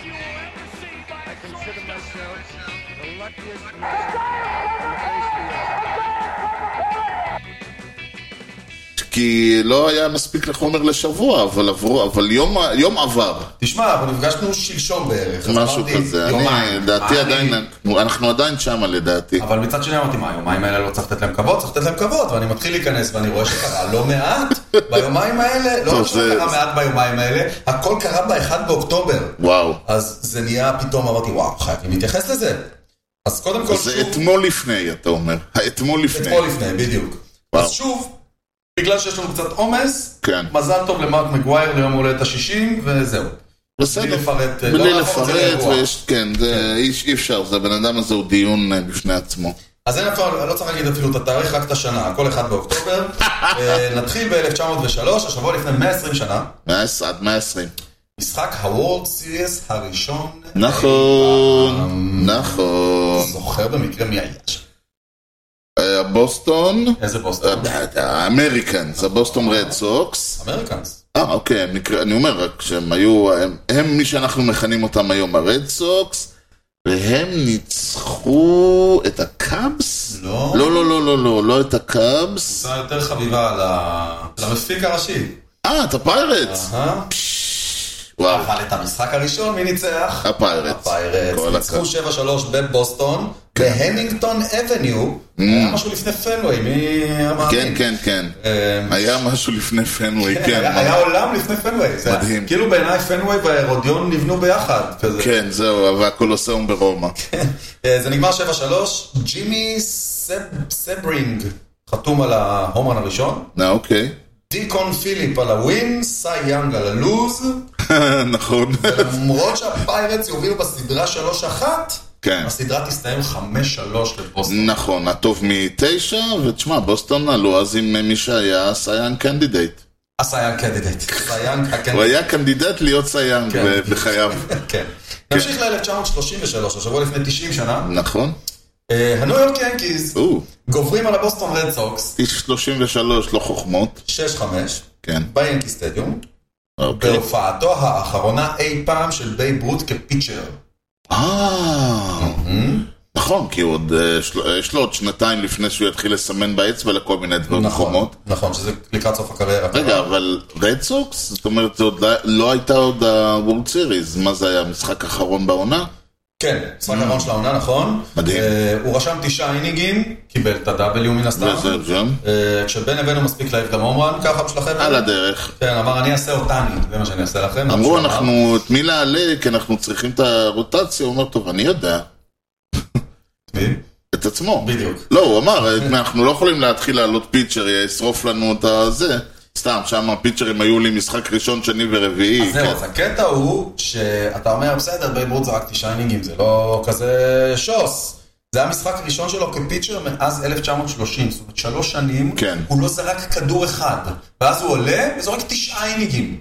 D: I consider myself the luckiest man.
A: כי לא היה מספיק לחומר לשבוע, אבל עברו, אבל יום, יום עבר,
B: תשמע, אבל נפגשנו שלשום בערך. אז
A: משהו
B: אמרתי,
A: כזה. אני,
B: יומיים.
A: לדעתי
B: מה,
A: עדיין,
B: אני-
A: אנחנו עדיין שמה לדעתי.
B: אבל מצד שני אמרתי, מה, היומיים האלה לא צריך לתת להם כבוד? צריך לתת להם כבוד, ואני מתחיל להיכנס ואני רואה שקרה לא מעט ביומיים האלה, לא
A: טוב,
B: רק שלא
A: זה-
B: קרה מעט ביומיים האלה, הכל קרה ב-1 באוקטובר.
A: וואו.
B: אז זה נהיה פתאום, אמרתי, וואו, חייבים להתייחס לזה. אז קודם כל,
A: זה
B: שוב-
A: אתמול לפני, אתה אומר. האתמול לפני.
B: אתמול לפני, בדיוק.
A: וואו.
B: אז שוב, בגלל שיש לנו קצת עומס,
A: כן.
B: מזל טוב למרק מגווייר ליום הולדת ה-60, וזהו. בלי
A: בסדר.
B: לפרט, לא
A: בלי
B: להפוך את זה
A: לפרט,
B: לאירוע. כן.
A: ויש, כן, זה- אי אי אפשר, זה הבן אדם הזה הוא דיון אה, בפני עצמו.
B: אז אין אפילו, לא צריך להגיד אפילו את התאריך, רק את השנה, הכל אחד באוקטובר. אה, נתחיל ב-1903, השבוע לפני 120 שנה,
A: 100 עד 120.
B: משחק הוורד סיריס הראשון.
A: נכון,
B: אה,
A: נכון.
B: זוכר במקרה מי היה שם.
A: אה, בוסטון,
B: איזה בוסטון?
A: אה, האמריקנס, הבוסטון רד סוקס.
B: אמריקאנס.
A: אה, אוקיי, הם נקרא- אני אומר רק שהם היו, הם- הם מי שאנחנו מכנים אותם היום הרד סוקס, והם ניצחו את הקאבס?
B: לא.
A: לא, לא, לא, לא, לא, לא את הקאבס.
B: קבוצה יותר חביבה על ה- על המפיק הראשי.
A: אה, את הפיירטס.
B: אהה.
A: וואו,
B: אבל את המשחק הראשון, מי ניצח?
A: הפיירטס.
B: הפיירטס.
A: אה, כל
B: ניצחו
A: הכבוד. כן.
B: 7-3 בבוסטון, בהנינגטון אבניו. היה משהו לפני פנוויי, מי אמר?
A: Mm. כן, כן, כן. היה משהו לפני פנוויי, כן.
B: אמ, היה עולם לפני פנוויי. זה היה-
A: מדהים.
B: כאילו בעיניי פנוויי והרודיון נבנו ביחד. כזה.
A: כן, זהו, והקולוסיאום ברומא.
B: אה, זה נגמר 7-3, ג'ימי סב- סברינג חתום על ההומן הראשון,
A: אה, אוקיי.
B: דיקון פיליפ על הווין, סי יאנג על הלוז,
A: נכון.
B: למרות שהפיירטס יובילו בסדרה 3-1,
A: כן.
B: הסדרה תסתיים 5-3 לבוסטון.
A: נכון, הטוב מתשע, ותשמע, בוסטון עלו אז עם מי שהיה סייאן קנדידייט.
B: הסייאנג קדידט. הסייאנג
A: הוא
B: הקנדידט.
A: היה קנדידט להיות סייאן
B: כן.
A: ב- בחייו.
B: כן. נמשיך ל-1933, השבוע לפני 90 שנה.
A: נכון?
B: אה, הניו יורק ינקיז
A: או,
B: גוברים על הבוסטון רד סוקס,
A: איש 33, לא חוכמות.
B: 6-5,
A: כן.
B: ביאנקי סטדיום,
A: אוקיי.
B: בהופעתו האחרונה אי פעם של בייב רות כפיצ'ר.
A: אה, נכון, כי הוא עוד, אה, של- יש לו עוד שנתיים לפני שהוא יתחיל לסמן באצבע לכל מיני דברים חומות.
B: נכון, שזה לקראת סוף הקריירה.
A: לא רגע, אבל רד סוקס? זאת אומרת, זה עוד לא- לא הייתה עוד הוורד סיריס. מה זה היה, משחק אחרון בעונה?
B: כן, משחק האחרון של העונה, נכון.
A: Mm. מדהים.
B: אה, הוא רשם תשעה אינינגים, קיבל את ה-W מן הסתם.
A: וזהו, זהו.
B: אה, כשבין לבין הוא מספיק להעיף גם הומרן ככה בשביל החבר'ה.
A: על הדרך.
B: כן, אמר אני אעשה אותני, זה מה שאני אעשה לכם. זה מה שהוא
A: אמרו,
B: אמר.
A: אנחנו, את מי נעלה, כי אנחנו צריכים את הרוטציה. הוא אומר, טוב, אני יודע. את עצמו.
B: בדיוק.
A: לא, הוא אמר, אנחנו לא יכולים להתחיל לעלות פיצ'ר, ישרוף לנו את הזה. סתם, שם הפיצ'רים היו לי משחק ראשון, שני ורביעי.
B: זהו,
A: כן.
B: אז הקטע הוא שאתה אומר, בסדר, בייב רות זרק תשעה אינינגים, זה לא כזה שוס. זה המשחק הראשון שלו כפיצ'ר מאז 1930, זאת אומרת שלוש שנים,
A: כן.
B: הוא לא זרק כדור אחד, ואז הוא עולה וזורק תשעה אינינגים.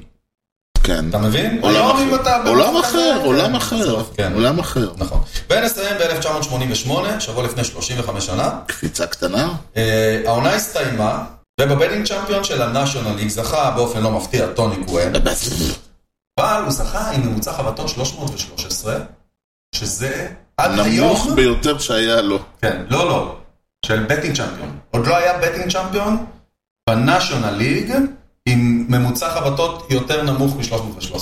A: כן.
B: אתה מבין?
A: עולם
B: היום אם אתה
A: אחר.
B: במצב
A: עולם
B: כזה,
A: אחר,
B: כן,
A: עולם אחר.
B: בסוף, כן.
A: עולם אחר.
B: נכון. ונסיים ב-1988, שבוע לפני 35 שנה.
A: קפיצה קטנה?
B: אה, העונה הסתיימה, ובבדינג צ'מפיון של הנאשונל ליג זכה באופן לא מפתיע טוני גואן, אבל הוא זכה עם ממוצע חבטות 313, שזה עד היום...
A: נמוך ביותר שהיה לו.
B: כן, לא, לא. של בטינג צ'מפיון. עוד לא היה בטינג צ'מפיון בנאשונל ליג עם ממוצע חבטות יותר נמוך מ-313.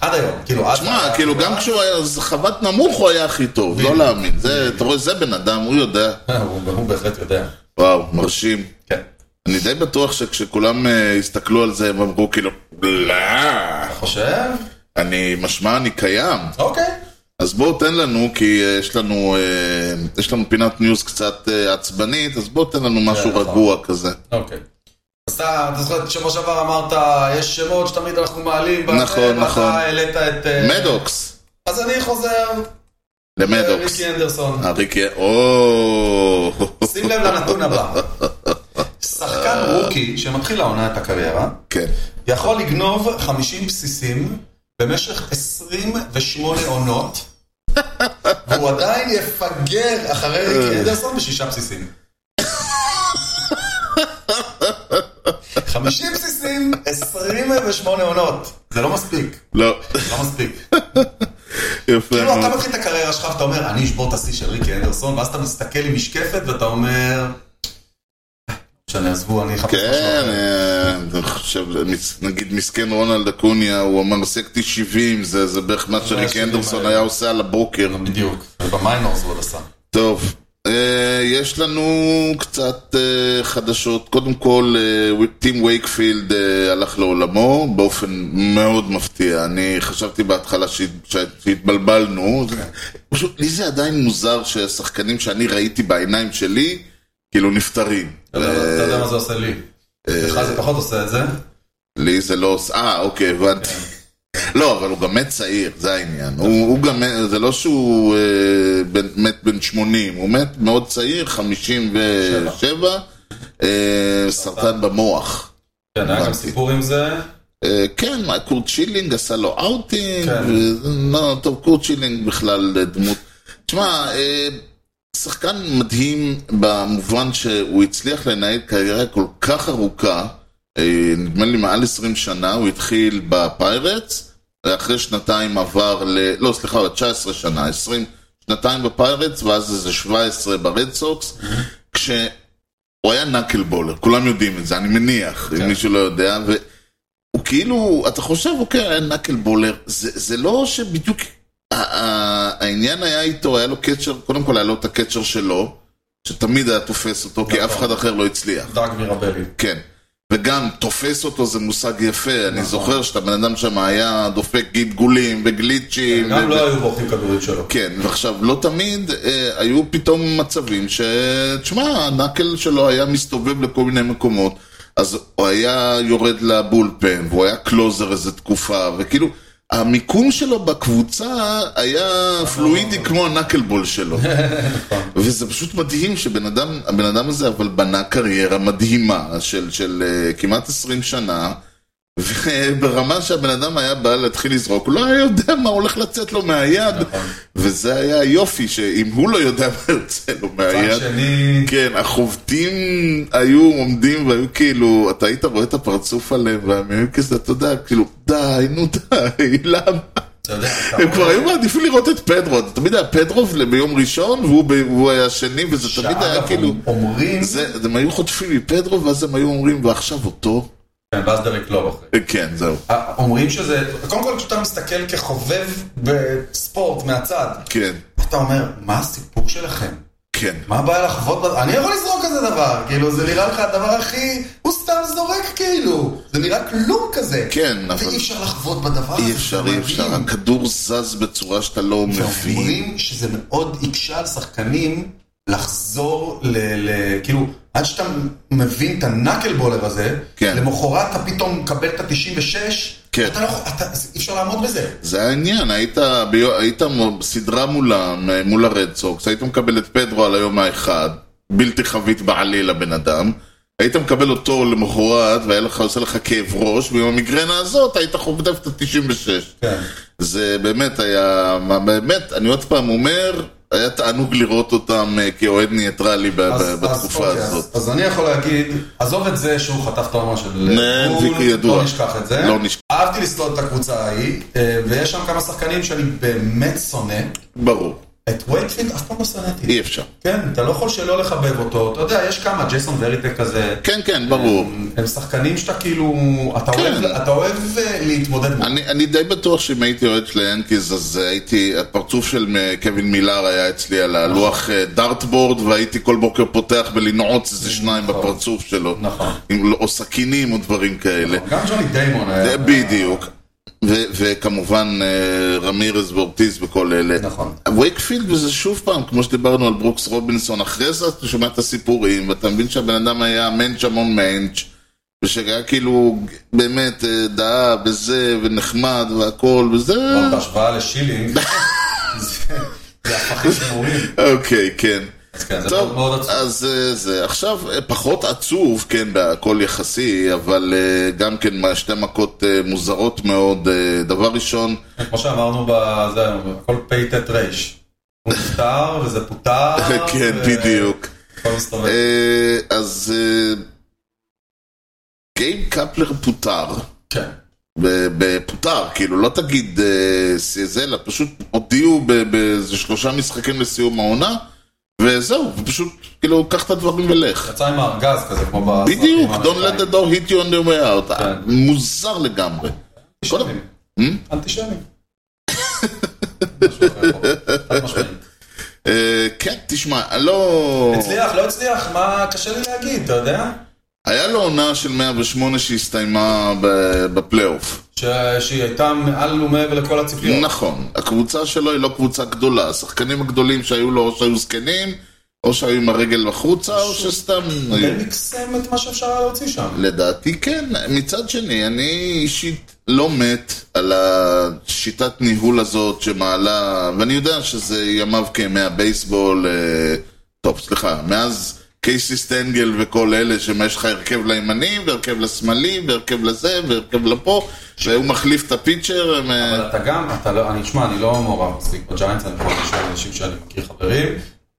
B: עד היום, כאילו עד...
A: מה, כאילו גם כשהוא היה אז חבט נמוך הוא היה הכי טוב, לא
B: בדיוק.
A: להאמין. זה, אתה רואה, זה בן אדם, הוא יודע.
B: הוא הוא בהחלט יודע.
A: וואו, מרשים.
B: כן.
A: אני די בטוח שכשכולם אה, הסתכלו על זה, הם אמרו כאילו, בלה,
B: אתה חושב?
A: אני, משמע אני קיים.
B: אוקיי.
A: אז בואו תן לנו, כי אה, יש לנו, אה, יש לנו פינת ניוז קצת אה, עצבנית, אז בואו תן לנו משהו
B: נכון.
A: רגוע כזה.
B: אוקיי. אז אתה, אתה זוכר, שבוע שעבר אמרת, יש שמות שתמיד אנחנו מעלים. בזה",
A: נכון, נכון.
B: ואתה העלית את... אה,
A: מדוקס,
B: אז אני חוזר.
A: למדוקס.
B: ריקי אנדרסון.
A: אה, ריקי, או...
B: שים לב לנתון הבא. שחקן רוקי שמתחיל העונה את הקריירה,
A: כן.
B: יכול לגנוב 50 בסיסים במשך 28 עונות, והוא עדיין יפגר אחרי ריקי אנדרסון בשישה בסיסים. 50 בסיסים, 28 עונות. זה לא מספיק,
A: לא,
B: זה לא מספיק.
A: יפה
B: כאילו אתה
A: מאוד.
B: מתחיל את הקריירה שלך ואתה אומר, אני אשבור את השיא של ריקי אנדרסון, ואז אתה מסתכל עם משקפת ואתה אומר... "אה, שאני עזבו, אני אחפש משהו
A: כן,
B: אחר.
A: אה, אני חושב, מס- נגיד מסכן רונלד אקוניה, הוא אמר, עשיתי 70, זה זה בערך מה שריק
B: 70
A: אנדרסון
B: האלה.
A: היה עושה על הבוקר.
B: כן, בדיוק, ובמיינורס הוא עוד עשה.
A: טוב, אה, יש לנו קצת אה, חדשות. קודם כל, אה, טים וייקפילד אה, הלך לעולמו באופן מאוד מפתיע. אני חשבתי בהתחלה שהת- שהת- שהתבלבלנו. זה- פשוט, לי זה עדיין מוזר שהשחקנים שאני ראיתי בעיניים שלי, כאילו נפטרים.
B: אתה יודע- אתה יודע מה זה עושה
A: אה,
B: לי. לך זה פחות עושה את זה.
A: לי זה לא עושה... אה, אוקיי, הבנתי. לא, אבל הוא גם מת צעיר, זה העניין. הוא, הוא גם, מת- זה לא שהוא אה, בן, מת בן 80, הוא מת מאוד צעיר, 57, אה, סרטן במוח.
B: כן, היה גם סיפור עם זה.
A: אה, כן, מה, קורט שילינג עשה לו אאוטינג,
B: כן.
A: ו- לא, טוב, קורט שילינג בכלל אה, דמות. תשמע, אה, שחקן מדהים במובן שהוא הצליח לנהל קריירה כל כך ארוכה, אה, נדמה לי מעל 20 שנה, הוא התחיל בפיירטס, ואחרי שנתיים עבר ל... לא, סליחה, 19 שנה, 20, שנתיים בפיירטס, ואז איזה 17 ברד סוקס, כש... הוא היה נקל בולר, כולם יודעים את זה, אני מניח,
B: כן.
A: אם מישהו לא יודע, ו... הוא כאילו, אתה חושב, אוקיי, היה נקל בולר, זה, זה לא שבדיוק ה- ה- העניין היה איתו, היה לו קצ'ר, קודם כל היה לו את הקצ'ר שלו, שתמיד היה תופס אותו, כי
B: נכון.
A: אף אחד אחר לא הצליח,
B: דרג מירבלי.
A: כן. וגם, תופס אותו זה מושג יפה,
B: נכון.
A: אני זוכר שאתה בן אדם שם היה דופק גלגולים וגליצ'ים.
B: גם
A: ו-
B: לא היו בורחים כדורית שלו.
A: כן, ועכשיו, לא תמיד אה, היו פתאום מצבים ש... תשמע, הנקל שלו היה מסתובב לכל מיני מקומות, אז הוא היה יורד לבולפן, והוא היה קלוזר איזה תקופה, וכאילו, המיקום שלו בקבוצה היה פלואידי כמו הנקלבול שלו. וזה פשוט מדהים שבן אדם, הבן אדם הזה אבל בנה קריירה מדהימה של, של אה, כמעט 20 שנה. וברמה שהבן אדם היה בא להתחיל לזרוק, הוא לא היה יודע מה הולך לצאת לו מהיד.
B: נכון.
A: וזה היה היופי, שאם הוא לא יודע מה יוצא לו
B: מצד
A: מהיד...
B: שני,
A: כן, החובטים היו עומדים והיו כאילו, אתה היית רואה את הפרצוף עליהם, והם היו כזה, אתה יודע, כאילו, די, נו די, למה?
B: אתה יודע, אתה
A: הם כבר
B: רואה-
A: היו מעדיפים לראות את פדרו, זה תמיד היה פדרו ביום ראשון, והוא ב- והוא היה שני, וזה תמיד
B: שאגב,
A: היה כאילו...
B: אומרים,
A: זה, הם היו חוטפים מפדרו, ואז הם היו אומרים, ועכשיו אותו?
B: כן, ואז דרק לא אחרי.
A: כן, זהו.
B: אה, אומרים שזה, קודם כל כשאתה מסתכל כחובב בספורט מהצד,
A: כן,
B: אתה אומר, מה הסיפור שלכם?
A: כן.
B: מה הבעיה לחוות? בזה? אני יכול לזרוק כזה דבר, כאילו זה נראה לך הדבר הכי, הוא סתם זורק כאילו, זה נראה כלום כזה.
A: כן, אבל-
B: ואי אפשר לחוות בדבר הזה.
A: אי אפשר, אי אפשר,
B: מדהים.
A: הכדור זז בצורה שאתה לא מבין.
B: ואומרים שזה מאוד הקשה על שחקנים לחזור ל... ל כאילו, עד שאתה מבין את הנקל בולר הזה,
A: כן.
B: למחרת אתה פתאום מקבל את ה-96,
A: כן.
B: אתה לא יכול, אתה- אי אפשר לעמוד בזה.
A: זה העניין, היית, ביו, היית מו- בסדרה מולם, אה, מול הרד סוקס, היית מקבל את פדרו על היום האחד, בלתי חבית בעליל הבן אדם, היית מקבל אותו למחרת, והיה לך, עושה לך כאב ראש, ועם המיגרנה הזאת היית חובדף את ה-96.
B: כן.
A: זה באמת היה, מה- באמת, אני עוד פעם אומר, היה תענוג לראות אותם אה, כאוהד ניטרלי ב- ב- בתקופה
B: אוקיי,
A: הזאת.
B: אז, אז אני יכול להגיד, עזוב את זה שהוא חטף את העונה של
A: נה,
B: גול,
A: זה ידוע.
B: לא נשכח את זה.
A: לא נשכח.
B: אהבתי לסלול את הקבוצה ההיא, אה, ויש שם כמה שחקנים שאני באמת שונא.
A: ברור,
B: את וייקפילד אף פעם לא שנאתי.
A: אי אפשר.
B: כן, אתה לא יכול שלא לחבב אותו. אתה יודע, יש כמה, ג'ייסון וריטק כזה.
A: כן, כן, ברור.
B: הם שחקנים שאתה כאילו, אתה
A: כן.
B: אוהב- אתה אוהב אה, להתמודד מול.
A: אני, אני די בטוח שאם הייתי אוהד של היאנקיז, אז אה, הייתי, הפרצוף של מ- קווין מילר היה אצלי על
B: נכון.
A: הלוח אה, דארטבורד, והייתי כל בוקר פותח בלנעוץ איזה שניים
B: נכון.
A: בפרצוף שלו.
B: נכון.
A: עם- לא, או סכינים או דברים כאלה.
B: גם ג'וני דיימון היה.
A: זה בדיוק. ו- וכמובן אה, רמירז ואורטיז וכל אלה.
B: נכון.
A: וייקפילד וזה שוב פעם, כמו שדיברנו על ברוקס רובינסון, אחרי זה אתה שומע את הסיפורים, ואתה מבין שהבן אדם היה מענץ' המון מענץ', ושהיה כאילו באמת אה, דעה וזה, ונחמד והכל, וזה...
B: אבל בהשוואה לא, לשילינג, זה זה הפכים שמורים.
A: אוקיי, כן.
B: אז כן, זה מאוד מאוד
A: טוב,
B: עצוב.
A: אז אה, זה. עכשיו, אה, פחות עצוב, כן, הכל יחסי, אבל אה, גם כן מה- שתי מכות אה, מוזרות מאוד. אה, דבר ראשון,
B: כמו שאמרנו, בזה, הכל פ"ט רייש. הוא נפטר וזה פוטר.
A: כן,
B: ו-
A: בדיוק.
B: הכל מסתובב.
A: אה, אז אה, גייב קפלר פוטר.
B: כן.
A: ב- ב- פוטר, כאילו, לא תגיד אה, זה, אלא פשוט הודיעו ב- באיזה שלושה משחקים לסיום העונה, וזהו, ופשוט, כאילו, קח את הדברים ולך.
B: יצא עם הארגז כזה, כמו ב...
A: בדיוק, Don't let the door hit you on the way out.
B: אוקיי. כן.
A: מוזר לגמרי.
B: אנטישמים. אנטישמים. משהו אחר פה, חד משמעית.
A: אה, כן, תשמע, אני לא...
B: הצליח, לא הצליח, מה קשה לי להגיד, אתה יודע?
A: היה לו עונה של 108 שהסתיימה ב- בפלייאוף.
B: ש- שהיא הייתה מעל ומעבר לכל הציפיות.
A: נכון, הקבוצה שלו היא לא קבוצה גדולה. השחקנים הגדולים שהיו לו או שהיו זקנים, או שהיו עם הרגל החוצה, או שסתם... היו.
B: ומקסם את מה שאפשר היה להוציא שם.
A: לדעתי כן. מצד שני, אני אישית לא מת על השיטת ניהול הזאת שמעלה, ואני יודע שזה ימיו כימי הבייסבול, אה, טוב, סליחה, מאז קייסי סטנגל וכל אלה, שמה יש לך הרכב לימני, והרכב לשמאלי, והרכב לזה, והרכב לפה, והוא מחליף את הפיצ'ר, הם, אה,
B: אבל אתה גם, אתה לא, אני, שמע, אני לא מעורב מספיק בג'יינטס, אני יכול לשאול אנשים שאני מכיר חברים.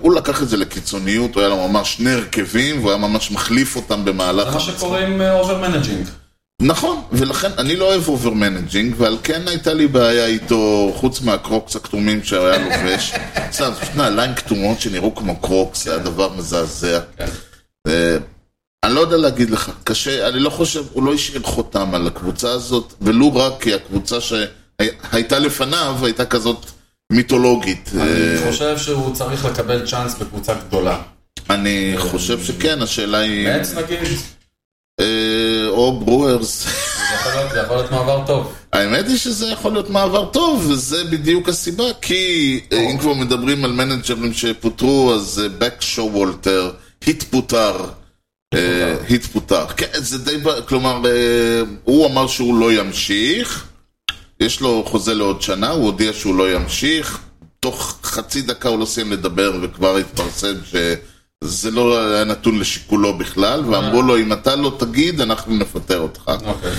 A: הוא לקח את זה לקיצוניות, הוא היה לו ממש שני הרכבים, והוא היה ממש מחליף אותם במהלך...
B: זה מה שקורה עם אה, אובר מנג'ינג.
A: נכון, ולכן אני לא אוהב אובר מנג'ינג, ועל כן הייתה לי בעיה איתו, חוץ מהקרוקס הכתומים שהיה לובש. סתם, פשוט נעליים כתומות שנראו כמו קרוקס, זה היה דבר מזעזע.
B: כן.
A: אה, אני לא יודע להגיד לך, קשה, אני לא חושב, הוא לא השאיר חותם על הקבוצה הזאת, ולו רק כי הקבוצה שהייתה לפניו הייתה כזאת מיתולוגית. אה,
B: אני חושב שהוא צריך לקבל צ'אנס בקבוצה גדולה.
A: אני חושב שכן, השאלה היא...
B: מעץ נגיד,
A: אה, או ברוורס.
B: זה יכול להיות- זה יכול להיות מעבר טוב.
A: האמת היא שזה יכול להיות מעבר טוב, וזה בדיוק הסיבה, כי אה, אם כבר מדברים על מנג'רים שפוטרו, אז אה, בק וולטר התפוטר. אה, התפוטר. כן, זה די... ב- כלומר, אה, הוא אמר שהוא לא ימשיך, יש לו חוזה לעוד שנה, הוא הודיע שהוא לא ימשיך, תוך חצי דקה הוא לא סיים לדבר וכבר התפרסם שזה לא היה נתון לשיקולו בכלל, ואמרו לו, אם אתה לא תגיד, אנחנו נפטר אותך.
B: אוקיי.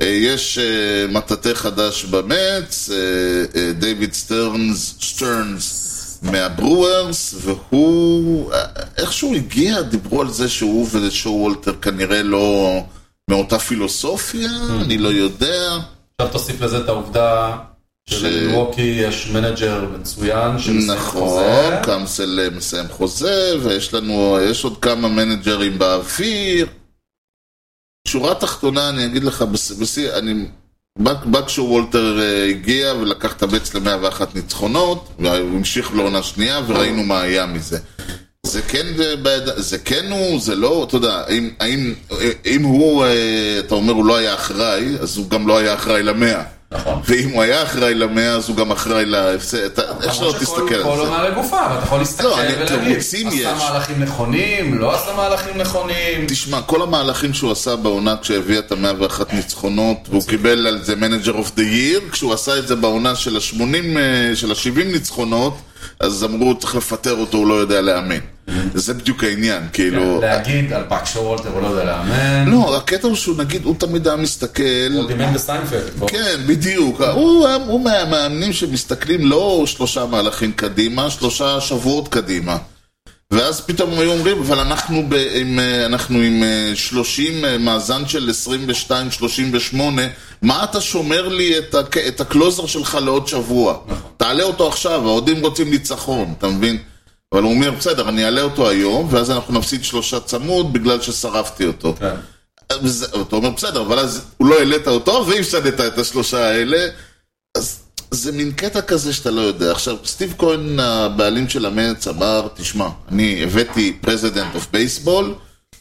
A: אה, יש אה, מטאטא חדש במץ, אה, אה, דיוויד סטרנס, סטרנס מהברוארס, והוא, אה, איך שהוא הגיע, דיברו על זה שהוא ושואו וולטר כנראה לא מאותה פילוסופיה, אני לא יודע.
B: עכשיו תוסיף לזה את העובדה שלווקי יש מנג'ר מצוין שמסיים
A: נכון,
B: חוזה.
A: קאמסל אה, מסיים חוזה, ויש לנו, יש עוד כמה מנג'רים באוויר. שורה תחתונה, אני אגיד לך, בס- בשיא, אני... בק- בק שוולטר אה, הגיע ולקח את הבץ ל-101 ניצחונות, והוא המשיך לעונה שנייה, וראינו מה היה מזה. זה כן, אה, ביד- זה כן הוא, זה לא, אתה יודע, אם, האם, אה, אם הוא, אה, אתה אומר, הוא לא היה אחראי, אז הוא גם לא היה אחראי למאה.
B: נכון.
A: ואם הוא היה אחראי למאה, אז הוא גם אחראי להפסד. אתה- איך שלא
B: למרות שכל-
A: תסתכל על
B: כל
A: זה.
B: עונה לגופה, אבל אתה יכול להסתכל
A: לא, אני-
B: ולהגיד,
A: תירוצים
B: עשה
A: יש.
B: מהלכים נכונים, לא עשה מהלכים נכונים.
A: תשמע, כל המהלכים שהוא עשה בעונה כשהביא את המאה ואחת ניצחונות, והוא קיבל על זה מנג'ר אוף דה ייר, כשהוא עשה את זה בעונה של ה-80, של ה-70 ניצחונות, אז אמרו, צריך לפטר אותו, הוא לא יודע לאמן.
B: Mm-hmm.
A: זה בדיוק העניין,
B: כן,
A: כאילו...
B: להגיד על פאק שוולטר, הוא לא יודע לאמן.
A: לא, הקטע הוא שהוא נגיד, הוא תמיד היה מסתכל,
B: הוא דימן בסיינפלד. בוא.
A: כן, בדיוק. הוא, הוא מהמאמנים שמסתכלים לא שלושה מהלכים קדימה, שלושה שבועות קדימה. ואז פתאום היו אומרים, אבל אנחנו, ב, עם, אה, אנחנו עם אה, 30, אה, מאזן של 22-38, מה אתה שומר לי את, הק, את הקלוזר שלך לעוד שבוע? תעלה אותו עכשיו, האוהדים רוצים ניצחון, אתה מבין? אבל הוא אומר, בסדר, אני אעלה אותו היום, ואז אנחנו נפסיד שלושה צמוד בגלל ששרפתי אותו.
B: כן.
A: וזה- אתה אומר, בסדר, אבל אז הוא לא העלית אותו, והפסדת את השלושה האלה. אז זה מין קטע כזה שאתה לא יודע. עכשיו, סטיב כהן, הבעלים של המץ, אמר, תשמע, אני הבאתי פרזידנט אוף בייסבול,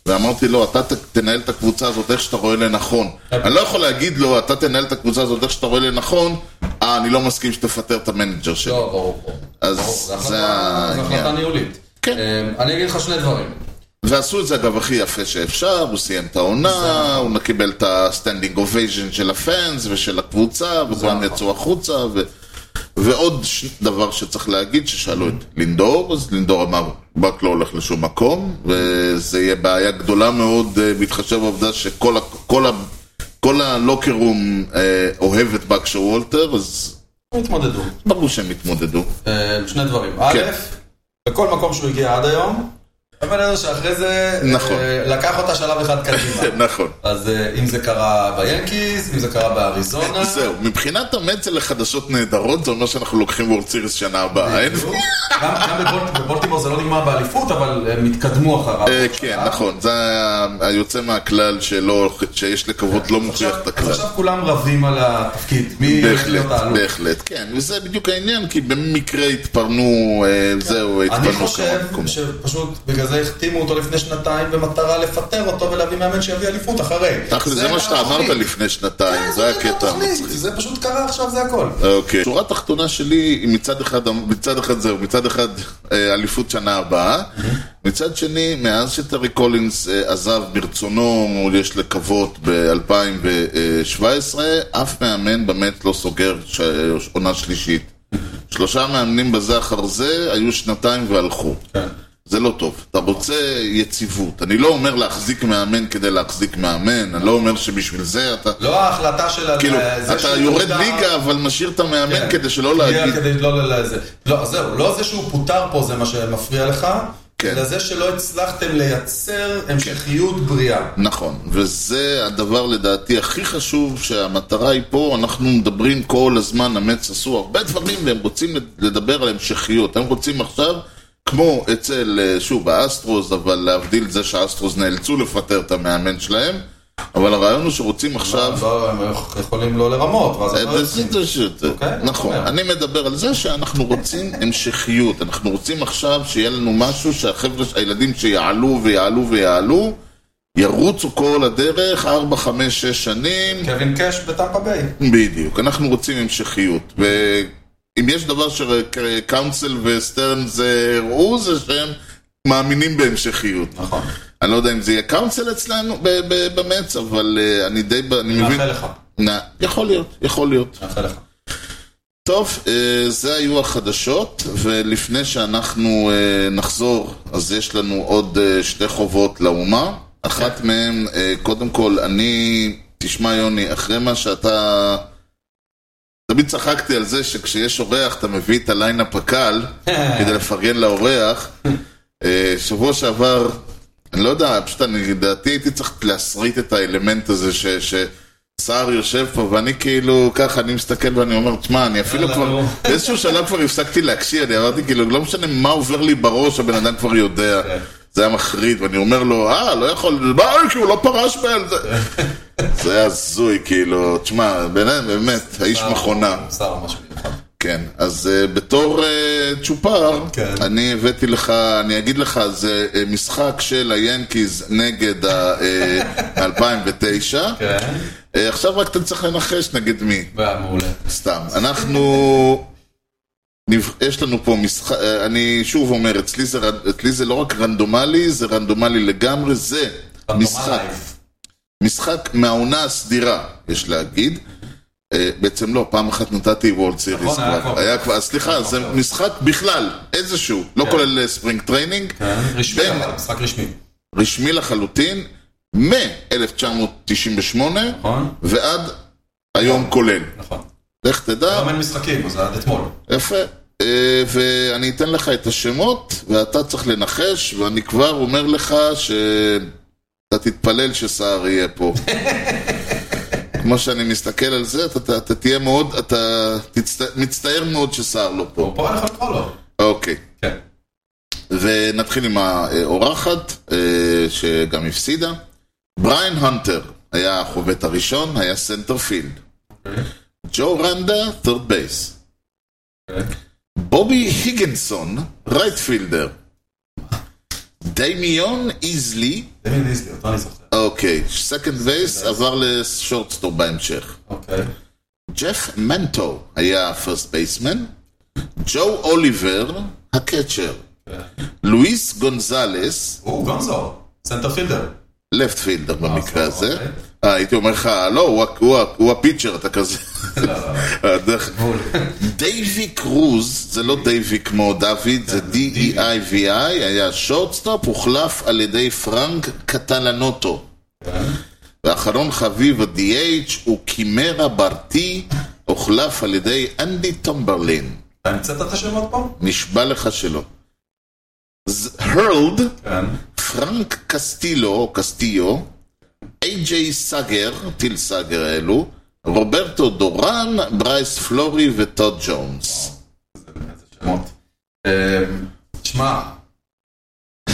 A: ואמרתי לו, אתה ת- תנהל את הקבוצה הזאת איך שאתה רואה לנכון. אני לא יכול להגיד לו, אתה תנהל את הקבוצה הזאת איך שאתה רואה לנכון, אה, אני לא מסכים שתפטר את המנג'ר שלי.
B: לא, ברור, ברור.
A: אז
B: ברור, זה
A: זה
B: החלטה- זה החלטה
A: העניין.
B: ניהולית.
A: כן.
B: אמ, אני אגיד לך שני דברים.
A: ועשו את זה אגב הכי יפה שאפשר, הוא סיים את העונה, הוא קיבל את הסטנדינג אובייז'ן של הפאנס ושל הקבוצה, וכולם
B: נכון.
A: יצאו החוצה, ו... ועוד ש... דבר שצריך להגיד, ששאלו את לינדור, אז לינדור אמר, ברק לא הולך לשום מקום, וזה יהיה בעיה גדולה מאוד, אה, בהתחשב בעובדה שכל ה... כל ה... כל הלוקר רום אה, אוהב את בקשר וולטר, אז
B: הם התמודדו.
A: ברור שהם יתמודדו.
B: אמ, שני דברים. א',
A: כן.
B: בכל מקום שהוא הגיע עד היום, הבן אדם שאחרי זה,
A: נכון.
B: אה, לקח אותה שלב אחד קדימה.
A: נכון.
B: אז אה, אם זה קרה ביאנקיז, אם זה קרה באריזונה.
A: זהו, מבחינת המץ אלה חדשות נהדרות, זה אומר שאנחנו לוקחים וורד סיריס שנה הבאה, אין
B: בדיוק. גם גם בבול- בבולטימור זה לא נגמר באליפות, אבל אה, הם התקדמו אחריו.
A: אה, כן, נכון, זה ה- היוצא מהכלל שלא, שיש לקוות לא
B: עכשיו-
A: מוכיח את
B: אז
A: הכלל.
B: עכשיו כולם רבים על התפקיד. מי הולך
A: בהחלט,
B: להיות האלוף?
A: בהחלט, כן, וזה בדיוק העניין, כי במקרה התפרנו, אה, זהו,
B: אני
A: התפרנו
B: חושב
A: כמה מקומות.
B: שפשוט בגלל הזה החתימו אותו לפני שנתיים במטרה לפטר אותו ולהביא מאמן שיביא אליפות אחרי.
A: תכל'ס, זה מה שאתה
B: התוכנית.
A: אמרת לפני שנתיים, כן, זה
B: הייתה
A: הקטע
B: התוכנית.
A: המצחיק.
B: זה פשוט קרה עכשיו, זה הכל.
A: אוקיי. שורה תחתונה שלי היא מצד אחד, מצד אחד זהו, מצד אחד אה, אליפות שנה הבאה, מצד שני, מאז שטרי קולינס אה, עזב ברצונו, יש לקוות ב-2017, אף מאמן באמת לא סוגר ש- אה, עונה שלישית. שלושה מאמנים בזה אחר זה, היו שנתיים והלכו.
B: כן.
A: זה לא טוב. אתה רוצה יציבות. אני לא אומר להחזיק מאמן כדי להחזיק מאמן, אני לא אומר שבשביל זה אתה...
B: לא ההחלטה של... ה-
A: כאילו,
B: אה, זה
A: אתה
B: שהוא
A: יורד
B: פוטר-
A: ליגה, אבל משאיר את המאמן
B: כן.
A: כדי שלא
B: שנייה,
A: להגיד...
B: כדי לא ל- לזה. לא, זהו, לא זה שהוא פוטר פה זה מה שמפריע לך,
A: כן.
B: אלא זה שלא הצלחתם לייצר המשכיות בריאה.
A: נכון, וזה הדבר לדעתי הכי חשוב שהמטרה היא פה, אנחנו מדברים כל הזמן, המץ עשו הרבה דברים והם רוצים לדבר על המשכיות, הם רוצים עכשיו, כמו אצל, אה, שוב, האסטרוס, אבל להבדיל זה שהאסטרוס נאלצו לפטר את המאמן שלהם, אבל הרעיון הוא שרוצים עכשיו...
B: לא, הם יכולים לא לרמות,
A: אה,
B: ואז הם לא יוצאים.
A: זה שיותר.
B: אוקיי,
A: נכון,
B: בסדר.
A: אני מדבר על זה שאנחנו רוצים המשכיות, אנחנו רוצים עכשיו שיהיה לנו משהו שהחבר'ה, הילדים שיעלו ויעלו ויעלו, ירוצו כל הדרך, 4, 5, 6 שנים,
B: קווין קאש בטמפה ביי.
A: כן. בדיוק, אנחנו רוצים המשכיות. ואם יש דבר שקאונסל וסטרנס אה, הראו זה שהם מאמינים בהמשכיות.
B: נכון.
A: אני לא יודע אם זה יהיה קאונסל אצלנו ב- ב- במץ, אבל אה, אני די, ב- אני מבין,
B: נאחל לך.
A: נא- יכול להיות, יכול להיות.
B: נאחל לך.
A: טוב, אה, זה היו החדשות, ולפני שאנחנו אה, נחזור, אז יש לנו עוד אה, שתי חובות לאומה. אחת מהן, אה, קודם כל, אני... תשמע, יוני, אחרי מה שאתה... תמיד צחקתי על זה שכשיש אורח אתה מביא את הליינאפ הקל כדי לפרגן לאורח. אה, שבוע שעבר, אני לא יודע, פשוט אני, לדעתי הייתי צריך להסריט את האלמנט הזה ש... ש... סער יושב פה, ואני כאילו, ככה, אני מסתכל ואני אומר, תשמע, אני אפילו
B: יאללה,
A: כבר,
B: נו."
A: באיזשהו שלב כבר הפסקתי להקשיב, אני אמרתי, כאילו, לא משנה מה עובר לי בראש, הבן אדם כבר יודע.
B: כן.
A: זה היה מחריד, ואני אומר לו, אה, לא יכול, מה, כי הוא לא פרש בהם. זה- זה היה הזוי, כאילו, תשמע, באמת, באמת, האיש מכונה.
B: שר משהו מיוחד.
A: כן, אז uh, בתור uh, צ'ופר,
B: כן.
A: אני הבאתי לך, אני אגיד לך, זה uh, משחק של היאנקיז נגד אה, ה-2009.
B: כן.
A: uh, עכשיו רק אתה צריך לנחש נגד מי,
B: מעולה.
A: סתם. אנחנו... נב- יש לנו פה משחק, אה, אני שוב אומר, אצלי זה, ר- אצלי זה לא רק רנדומלי, זה רנדומלי לגמרי, זה משחק, משחק מהעונה הסדירה, יש להגיד. אה, בעצם לא, פעם אחת נתתי וולד סיריס
B: נכון, היה
A: כבר.
B: כבר.
A: היה כבר, אז סליחה, זה משחק בכלל, איזשהו, לא
B: כן.
A: כולל אה, ספרינג טריינינג,
B: רשמי,
A: בין-
B: אבל משחק רשמי.
A: רשמי לחלוטין, מ-1998
B: נכון?
A: ועד היום כולל.
B: נכון.
A: לך תדע,
B: גם אין משחקים, אז זה עד אתמול.
A: יפה. אה, ואני אתן לך את השמות, ואתה צריך לנחש, ואני כבר אומר לך ש... אתה תתפלל שסער יהיה פה. כמו שאני מסתכל על זה, אתה, אתה, אתה תהיה מאוד, אתה תצט... מצטער מאוד שסער לא פה.
B: הוא פה אני יכול לקרוא לו.
A: אוקיי.
B: כן.
A: ונתחיל עם האורחת, אה, שגם הפסידה. בריין הנטר היה החובט הראשון, היה סנטרפילד.
B: אוקיי.
A: ג'ו רנדה, third base.
B: אוקיי.
A: בובי היגנסון, רייטפילדר. דמיון איזלי,
B: זה מי דיסלי, אותו אני זוכר.
A: אוקיי, second base, עבר לשורטסטור בהמשך.
B: אוקיי.
A: ג'ף מנטו היה הפרסט בייסמן, ג'ו אוליבר, הקצ'ר,
B: כן.
A: לואיס גונזלס,
B: הוא גונזו, סנטר פילדר.
A: לפט פילדר במקרה
B: אה,
A: הזה.
B: אוקיי.
A: אה, הייתי אומר לך, לא, הוא ה- הוא ה- הוא הפיצ'ר, אתה כזה. אה, דרך-
B: בול.
A: דייבי קרוז, זה לא דייבי כמו דוד, זה D-E-I-V-I, היה שורטסטופ, הוחלף על ידי פרנק קטלנוטו. ואחרון חביב, ה-DH, הוא קימרה ברטי, הוחלף על ידי אנדי טומברלין.
B: אתה המצאת את השמות פה?
A: נשבע לך שלא. ז- הרלד,
B: כן.
A: פרנק קסטילו, או קסטיו, איי-ג'יי סאגר, טיל סאגר האלו, רוברטו דורן, ברייס פלורי וטוד ג'ונס.
B: איזה שמות. אמ, שמע,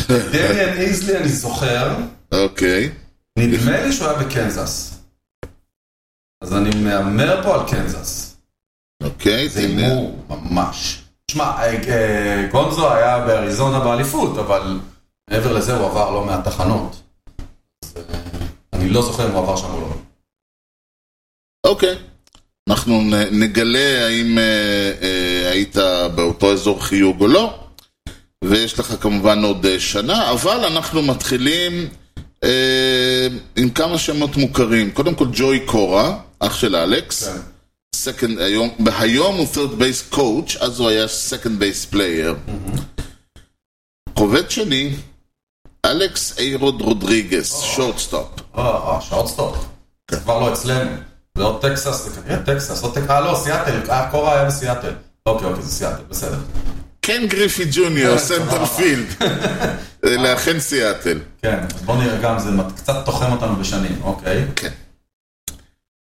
B: דמיאן איזלי אני זוכר,
A: אוקיי.
B: נדמה לי שהוא היה בקנזס. אז אני מהמר פה על קנזס.
A: אוקיי,
B: זה
A: הנה.
B: הימור ממש. שמע, אה, אה, גונזו היה באריזונה באליפות, אבל אה, מעבר לזה הוא עבר לא מעט תחנות. אז, אה, אני לא זוכר אם הוא עבר שם או לא.
A: אוקיי. אנחנו נ- נגלה האם אה, אה, היית באותו אזור חיוג או לא, ויש לך כמובן עוד אה, שנה, אבל אנחנו מתחילים אה, עם כמה שמות מוכרים. קודם כל ג'וי קורה, אח של אלכס.
B: כן.
A: second, היום, היום הוא third base coach, אז הוא היה second base player. חובד שני, אלכס איירוד רודריגס, שורטסטופ.
B: אה, אה, שעות סטופ. זה כבר לא אצלנו. זה עוד טקסס, זה כנראה טקסס, עוד טקסס, אה לא, סיאטל, אה, קורה היה בסיאטל. אוקיי, אוקיי, זה סיאטל, בסדר.
A: קן כן גריפי ג'וניור,
B: אה,
A: סנטר
B: סבבה.
A: פילד. אה, לאכן סיאטל.
B: כן, אז בוא נראה גם, זה מת- קצת תוחם אותנו בשנים, אוקיי.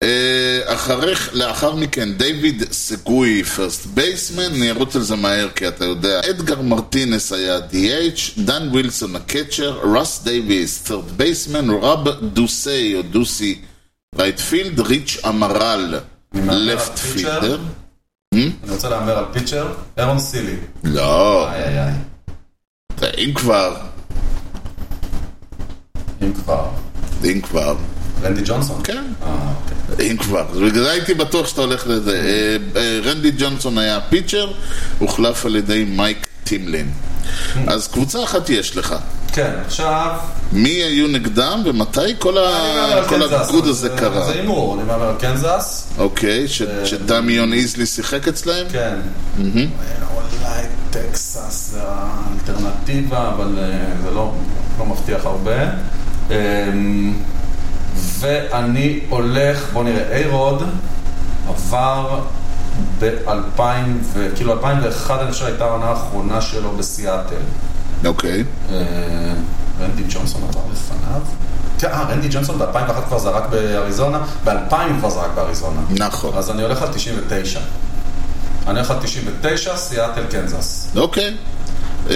A: אה, אחריך, לאחר מכן, דיוויד סגוי, פרסט בייסמן, נרוץ על זה מהר כי אתה יודע. אדגר מרטינס היה DH, דן ווילסון הקצ'ר, רס דייוויס, third בייסמן, רב דוסי או דוסי, רייט פילד, ריץ' אמרל,
B: אני מהמר על
A: לפט
B: פיצ'ר?
A: פילדר.
B: אני רוצה להמר על פיצ'ר, אירון סילי.
A: לא,
B: איי איי איי,
A: אם כבר,
B: אם כבר.
A: אם כבר.
B: רנדי ג'ונסון.
A: כן,
B: אה, אוקיי.
A: אם כבר. אז בגלל זה הייתי בטוח שאתה הולך לזה. אה, אה, רנדי ג'ונסון היה הפיצ'ר, הוחלף על ידי מייק טימלין. אז קבוצה אחת יש לך.
B: כן, עכשיו...
A: מי היו נגדם ומתי כל,
B: אני מהמר
A: ה...
B: על
A: כל
B: קנזס,
A: הגוד הזה
B: כן, זה- אה,
A: קרה?
B: זה הימור, אני כן מהמר על קנזס.
A: אוקיי, ש... שדמיון איזלי שיחק אצלהם?
B: כן. אולי טקסס זה האלטרנטיבה, אבל אה, זה לא לא מבטיח הרבה. אמ, ואני הולך, בוא נראה, איירוד עבר ב-2000, כאילו 2001 אני חושב הייתה העונה האחרונה שלו בסיאטל. כן.
A: אוקיי.
B: אה, רנדי ג'ונסון עבר לפניו? כן, אה, רנדי ג'ונסון ב-2001 כבר זרק באריזונה, ב-2000 כבר זרק באריזונה.
A: נכון.
B: אז אני הולך על 99. אני הולך על 99, סיאטל קנזס.
A: אוקיי. אה,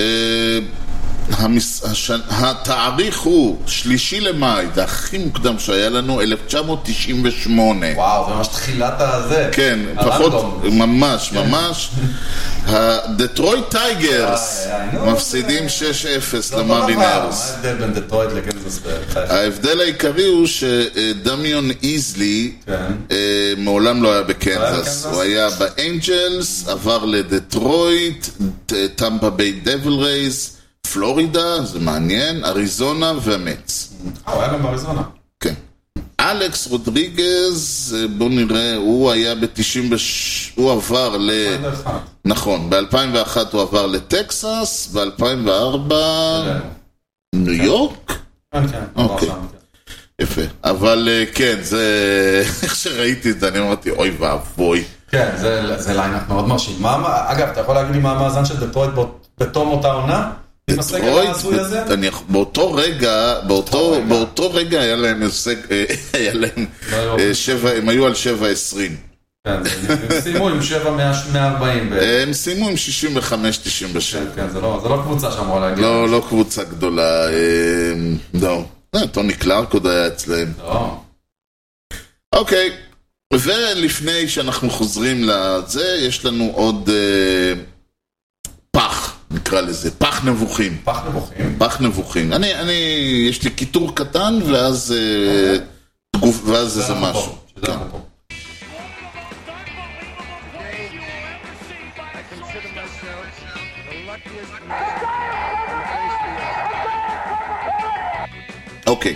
A: המס... הש... התאריך הוא שלישי למאי, זה הכי מוקדם שהיה לנו, 1998.
B: וואו, זה ממש תחילת הזה. לא
A: כן,
B: הרנדום.
A: פחות, ממש, ממש. הדטרויט טייגרס
B: איי, איי, לא נו,
A: מפסידים
B: זה-
A: 6-0
B: זה אותו דבר.
A: למרינרס.
B: מה ההבדל בין דטרויט לקנזס? בחייך.
A: ההבדל העיקרי הוא שדמיון איזלי
B: כן.
A: אה, מעולם לא היה
B: לא היה
A: בקנזס.
B: בקנזס?
A: הוא היה באנג'לס, עבר לדטרויט, ט- טמפה ביי דבל רייז, פלורידה, זה מעניין, אריזונה והמץ.
B: אה, הוא היה גם באריזונה.
A: כן. אלכס רודריגז, אה, בוא נראה, הוא היה ב-90, הוא עבר ל...
B: 21.
A: נכון, ב-2001 הוא עבר לטקסס, ב-2004 ניו יורק?
B: כן, כן. הוא עבר
A: אה. אוקיי.
B: שם, כן.
A: יפה. אבל אה, כן, זה... איך שראיתי את זה, אני אמרתי, אוי ואבוי.
B: כן, זה, זה ליינאפ מאוד מרשים. מה, מה, אגב, אתה יכול להגיד לי מה המאזן של דטרויט באות- בתום אותה עונה? עם הסגל
A: דטרויט,
B: ההזוי הזה?
A: אני- באותו רגע, באותו-
B: רגע.
A: באותו רגע היה להם הישג, אה, היה להם
B: לא היו-
A: אה, שבע, הם היו על 7.20.
B: כן, זה- הם סיימו עם 7,140 בערך.
A: אה, הם סיימו עם 65-97.
B: כן, כן, זה לא זה לא קבוצה שאמורה להגיד.
A: לא, לא קבוצה גדולה, אה, לא. אה, טוני קלארק עוד היה אצלהם.
B: לא.
A: אוקיי, ולפני שאנחנו חוזרים לזה, יש לנו עוד אה, פח, נקרא לזה, פח נבוכים.
B: פח נבוכים.
A: פח נבוכים. אני, אני, יש לי קיטור קטן, ואז אה, תגוף, ואז איזה
B: אנחנו פה,
A: משהו. כן.
B: שזה אנחנו פה.
D: I consider myself the luckiest man.
A: אוקיי.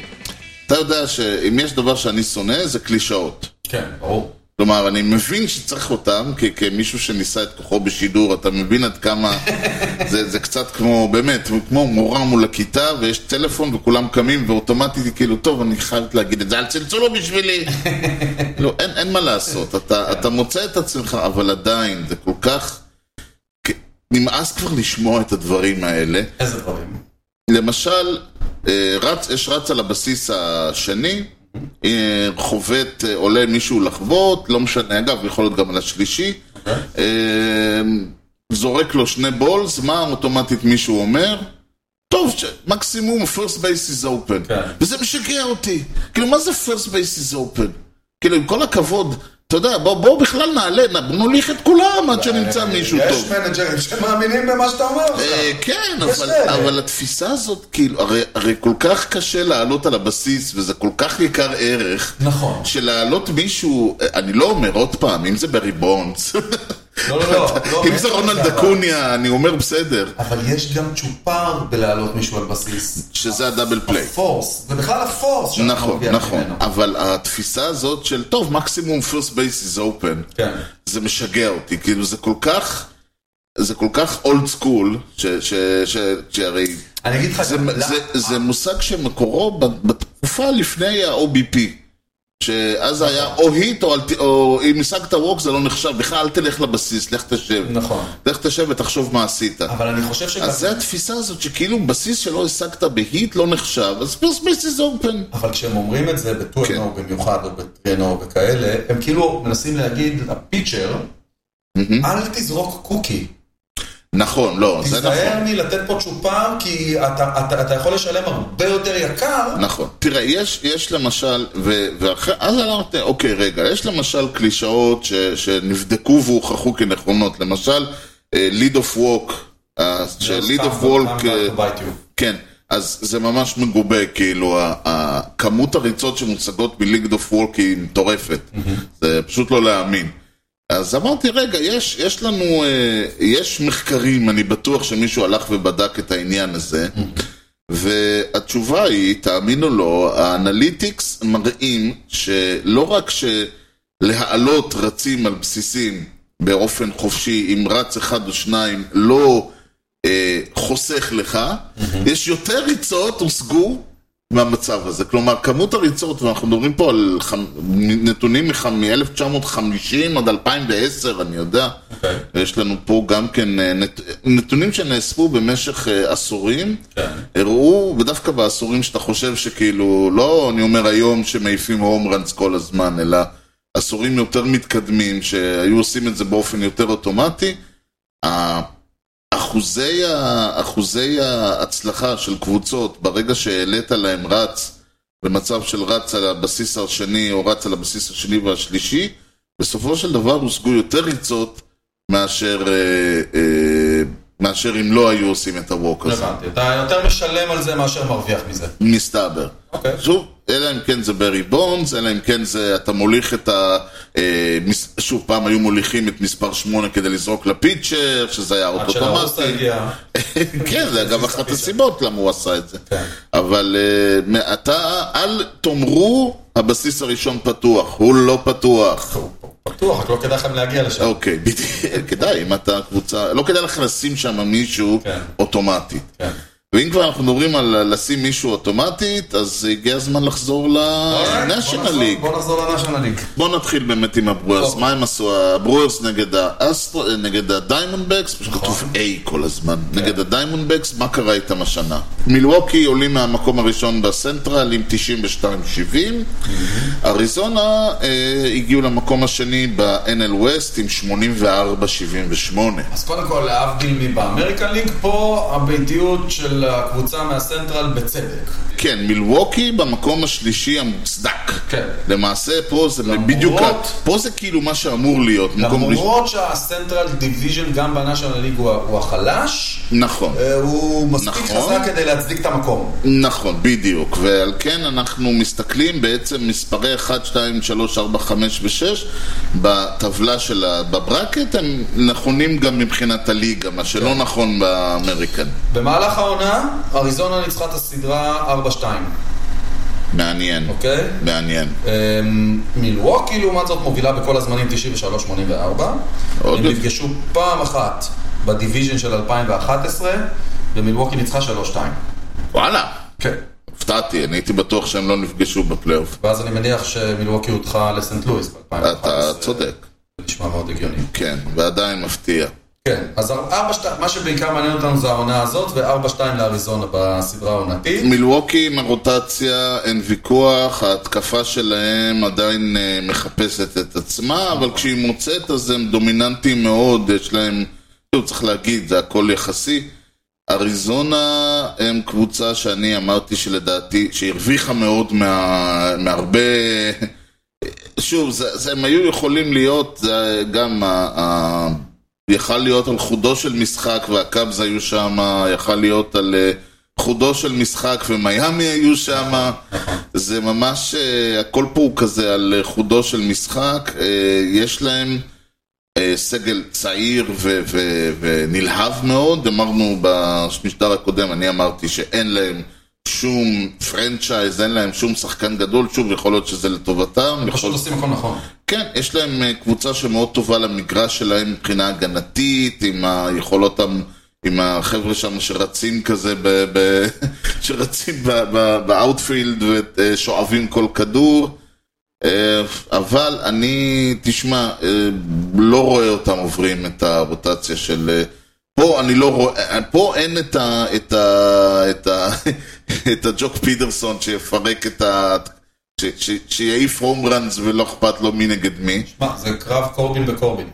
A: אתה יודע שאם יש דבר שאני שונא, זה קלישאות.
B: כן, ברור.
A: כלומר, אני מבין שצריך אותם, כי כמישהו שניסה את כוחו בשידור, אתה מבין עד כמה... זה, זה קצת כמו, באמת, כמו מורה מול הכיתה, ויש טלפון וכולם קמים, ואוטומטית היא כאילו, טוב, אני חייבת להגיד את זה, אל צלצלו בשבילי. לא, אין, אין מה לעשות, אתה, אתה מוצא את עצמך, אבל עדיין, זה כל כך... כ- נמאס כבר לשמוע את הדברים האלה.
B: איזה דברים.
A: למשל, אה, רץ, יש רץ על הבסיס השני, אה, חובט, אה, עולה מישהו לחבוט, לא משנה, אגב, יכול להיות גם על השלישי,
B: אוקיי.
A: אה, זורק לו שני בולס, מה אוטומטית מישהו אומר? טוב, ש- מקסימום first base is open.
B: כן.
A: וזה משגע אותי. כאילו, מה זה first base is open? כאילו, עם כל הכבוד, אתה יודע, בוא, בוא בכלל נעלה, נ- נוליך את כולם עד שנמצא מישהו
B: אה, יש
A: טוב.
B: מנג'רים שמאמינים במה שאתה אומר
A: אה,
B: עכשיו.
A: כן,
B: יש
A: אבל,
B: כאלה.
A: אבל התפיסה הזאת, כאילו, הרי, הרי כל כך קשה לעלות על הבסיס, וזה כל כך יקר ערך.
B: נכון.
A: שלהעלות מישהו, אה, אני לא אומר עוד פעם, אם זה בריבונס,
B: לא, לא, לא, לא.
A: אם זה רונלד
B: אבל-
A: אקוניה, אני אומר בסדר,
B: אבל יש גם צ'ופר בלהעלות מישהו על בסיס.
A: שזה הדאבל פליי.
B: הפורס, זה בכלל הפורס שאנחנו
A: נכון,
B: מביאים
A: נכון,
B: ממנו.
A: אבל התפיסה הזאת של, טוב, מקסימום first base is open,
B: כן.
A: זה משגע אותי, כאילו זה כל כך, זה כל כך אולד סקול, שהרי
B: אני אגיד לך,
A: זה,
B: גם
A: זה,
B: למה-
A: זה מושג שמקורו ב- בתקופה לפני ה-OBP, שאז זה היה
B: נכון.
A: או היט או, אל ת- או אם השגת ווק זה לא נחשב, בכלל אל תלך לבסיס, לך תשב.
B: נכון.
A: לך תשב ותחשוב מה עשית.
B: אבל אני חושב שגם...
A: אז זה התפיסה הזאת שכאילו בסיס שלא השגת בהיט לא נחשב, אז פרס בייס is open.
B: אבל כשהם אומרים את זה
A: כן.
B: בטואנו במיוחד, או בטרנו וכאלה, הם כאילו מנסים להגיד לפיצ'ר, אל תזרוק קוקי.
A: נכון, לא, זה
B: תיזהר
A: נכון.
B: מלתת פה צ'ופר, כי אתה- אתה אתה יכול לשלם הרבה יותר יקר.
A: נכון. תראה, יש, יש למשל, ו- ואחרי, אז אמרתי, אוקיי, רגע, יש למשל קלישאות ש, שנבדקו והוכחו כנכונות. למשל, אה, ליד אוף ווק, אה, שליד אוף ווק... כן, אז זה ממש מגובה, כאילו, ה- ה- כמות הריצות שמוצגות מליגד אוף וולק היא מטורפת. זה פשוט לא להאמין. אז אמרתי, רגע, יש, יש לנו, אה, יש מחקרים, אני בטוח שמישהו הלך ובדק את העניין הזה, והתשובה היא, תאמין או לא, האנליטיקס מראים שלא רק שלהעלות רצים על בסיסים באופן חופשי, אם רץ אחד או שניים לא אה, חוסך לך, יש יותר ריצות הושגו מהמצב הזה. כלומר, כמות הריצות, ואנחנו מדברים פה על חמ... נתונים מח- מ-1950 עד 2010, אני יודע. יש לנו פה גם כן אה, נת... נתונים שנאספו במשך אה, עשורים,
B: כן.
A: הראו, ודווקא בעשורים שאתה חושב שכאילו, לא אני אומר היום שמעיפים הום ראנס כל הזמן, אלא עשורים יותר מתקדמים, שהיו עושים את זה באופן יותר אוטומטי, ה- אחוזי, ה... אחוזי ההצלחה של קבוצות ברגע שהעלית להם רץ, במצב של רץ על הבסיס השני או רץ על הבסיס השני והשלישי, בסופו של דבר הושגו יותר ריצות מאשר, אה, אה, מאשר אם לא היו עושים את הווק הזה,
B: הבנתי, אתה יותר משלם על זה מאשר מרוויח מזה.
A: מסתבר.
B: אוקיי.
A: שוב, אלא אם כן זה ברי בונדס, אלא אם כן זה, אתה מוליך את ה... אה, מס, שוב, פעם היו מוליכים את מספר 8 כדי לזרוק לפיצ'ר, שזה היה
B: עד
A: אוטומטי.
B: שלאוסטה הגיע.
A: כן, זה אגב אחת הסיבות למה הוא עשה את זה.
B: כן.
A: אבל אה, מעתה, אל תאמרו, הבסיס הראשון פתוח, הוא לא פתוח.
B: הוא פתוח, רק לא כדאי לכם להגיע לשם.
A: אוקיי, בדיוק, כדאי, אם אתה קבוצה, לא כדאי לך לשים שם מישהו
B: כן.
A: אוטומטית.
B: כן.
A: ואם כבר אנחנו מדברים על לשים מישהו אוטומטית, אז הגיע הזמן לחזור לנשיונל
B: אוקיי, בוא
A: ליג.
B: נחזור- בוא נחזור לנשיונל ליג.
A: בוא נתחיל באמת עם הברוארס.
B: נכון. טוב.
A: מה הם עשו? הברוארס נגד האסטרו, נגד הדיימונדבקס, פשוט כתוב A כל הזמן. נגד הדיימונדבקס, מה קרה איתם השנה? מילווקי עולים מהמקום הראשון בסנטרל עם 92-70. אריזונה אה, הגיעו למקום השני ב-NL West עם 84-78.
B: אז קודם כל, להבדיל מבאמריקה ליג, פה הביתיות של הקבוצה מהסנטרל בצדק.
A: כן, מילווקי במקום השלישי המוצדק.
B: כן.
A: למעשה פה זה
B: למרות-
A: בדיוק, ה- פה זה כאילו מה שאמור להיות. מקום ראשון-
B: למרות שהסנטרל דיוויז'ן גם בנשיונל ליג הוא ה- הוא החלש,
A: נכון.
B: אה, הוא מספיק
A: נכון.
B: חזק כדי להצדיק את המקום.
A: נכון, בדיוק. ועל כן אנחנו מסתכלים בעצם מספרי 1, 2, 3, 4, 5 ו-6 בטבלה של ה... בברקט, הם נכונים גם מבחינת הליגה, מה שלא
B: כן.
A: נכון באמריקן.
B: במהלך העונה, אריזונה ניצחה את הסדרה 4-2,
A: מעניין.
B: אוקיי?
A: מעניין.
B: אמ, מילווקי לעומת זאת מובילה בכל הזמנים 93-84.
A: עוד
B: הם
A: לפ-
B: נפגשו פעם אחת בדיוויז'ן של 2011, ומילווקי ניצחה 3-2.
A: וואלה,
B: כן.
A: הופתעתי, אני הייתי בטוח שהם לא נפגשו בפלייאוף.
B: ואז אני מניח שמילווקי הודחה לסנט לואיס ב-2011.
A: אתה צודק,
B: זה נשמע מאוד הגיוני.
A: כן, ועדיין מפתיע.
B: כן, אז 4-2, מה שבעיקר מעניין אותנו זה העונה הזאת, ו-4-2 לאריזונה בסדרה העונתית.
A: מילווקי עם הרוטציה, אין ויכוח, ההתקפה שלהם עדיין אה, מחפשת את עצמה, אבל כשהיא מוצאת אז הם דומיננטיים מאוד, יש להם, כאילו צריך להגיד, זה הכל יחסי. אריזונה הם קבוצה שאני אמרתי שלדעתי, שהרוויחה מאוד מה... מהרבה... שוב, זה, זה, הם היו יכולים להיות, זה גם, ה, ה, יכל להיות על חודו של משחק והקאבס היו שם, יכל להיות על אה, חודו של משחק ומיאמי היו שם, זה ממש, אה, הכל פה הוא כזה על אה, חודו של משחק, אה, יש להם אה, סגל צעיר ו, ו, ונלהב מאוד, אמרנו במשדר הקודם, אני אמרתי שאין להם שום פרנצ'ייז, אין להם שום שחקן גדול, שוב, יכול להיות שזה לטובתם, יכול
B: פשוט עושים הכל נכון.
A: כן, יש להם אה, קבוצה שמאוד טובה למגרש שלהם מבחינה הגנתית, עם היכולות, המ- עם החבר'ה שם שרצים כזה, ב, ב, שרצים ב- ב- באאוטפילד ושואבים כל כדור. אה, אבל אני, תשמע, אה, לא רואה אותם עוברים את הרוטציה של... אה, פה אני לא רואה, אה, פה אין את ה... את ה... את ה... את הג'וק פידרסון שיפרק את ה... ש- ש- שיעיף הום ראנס ולא אכפת לו מי נגד מי.
B: שמע, זה קרב קורבין בקורבין.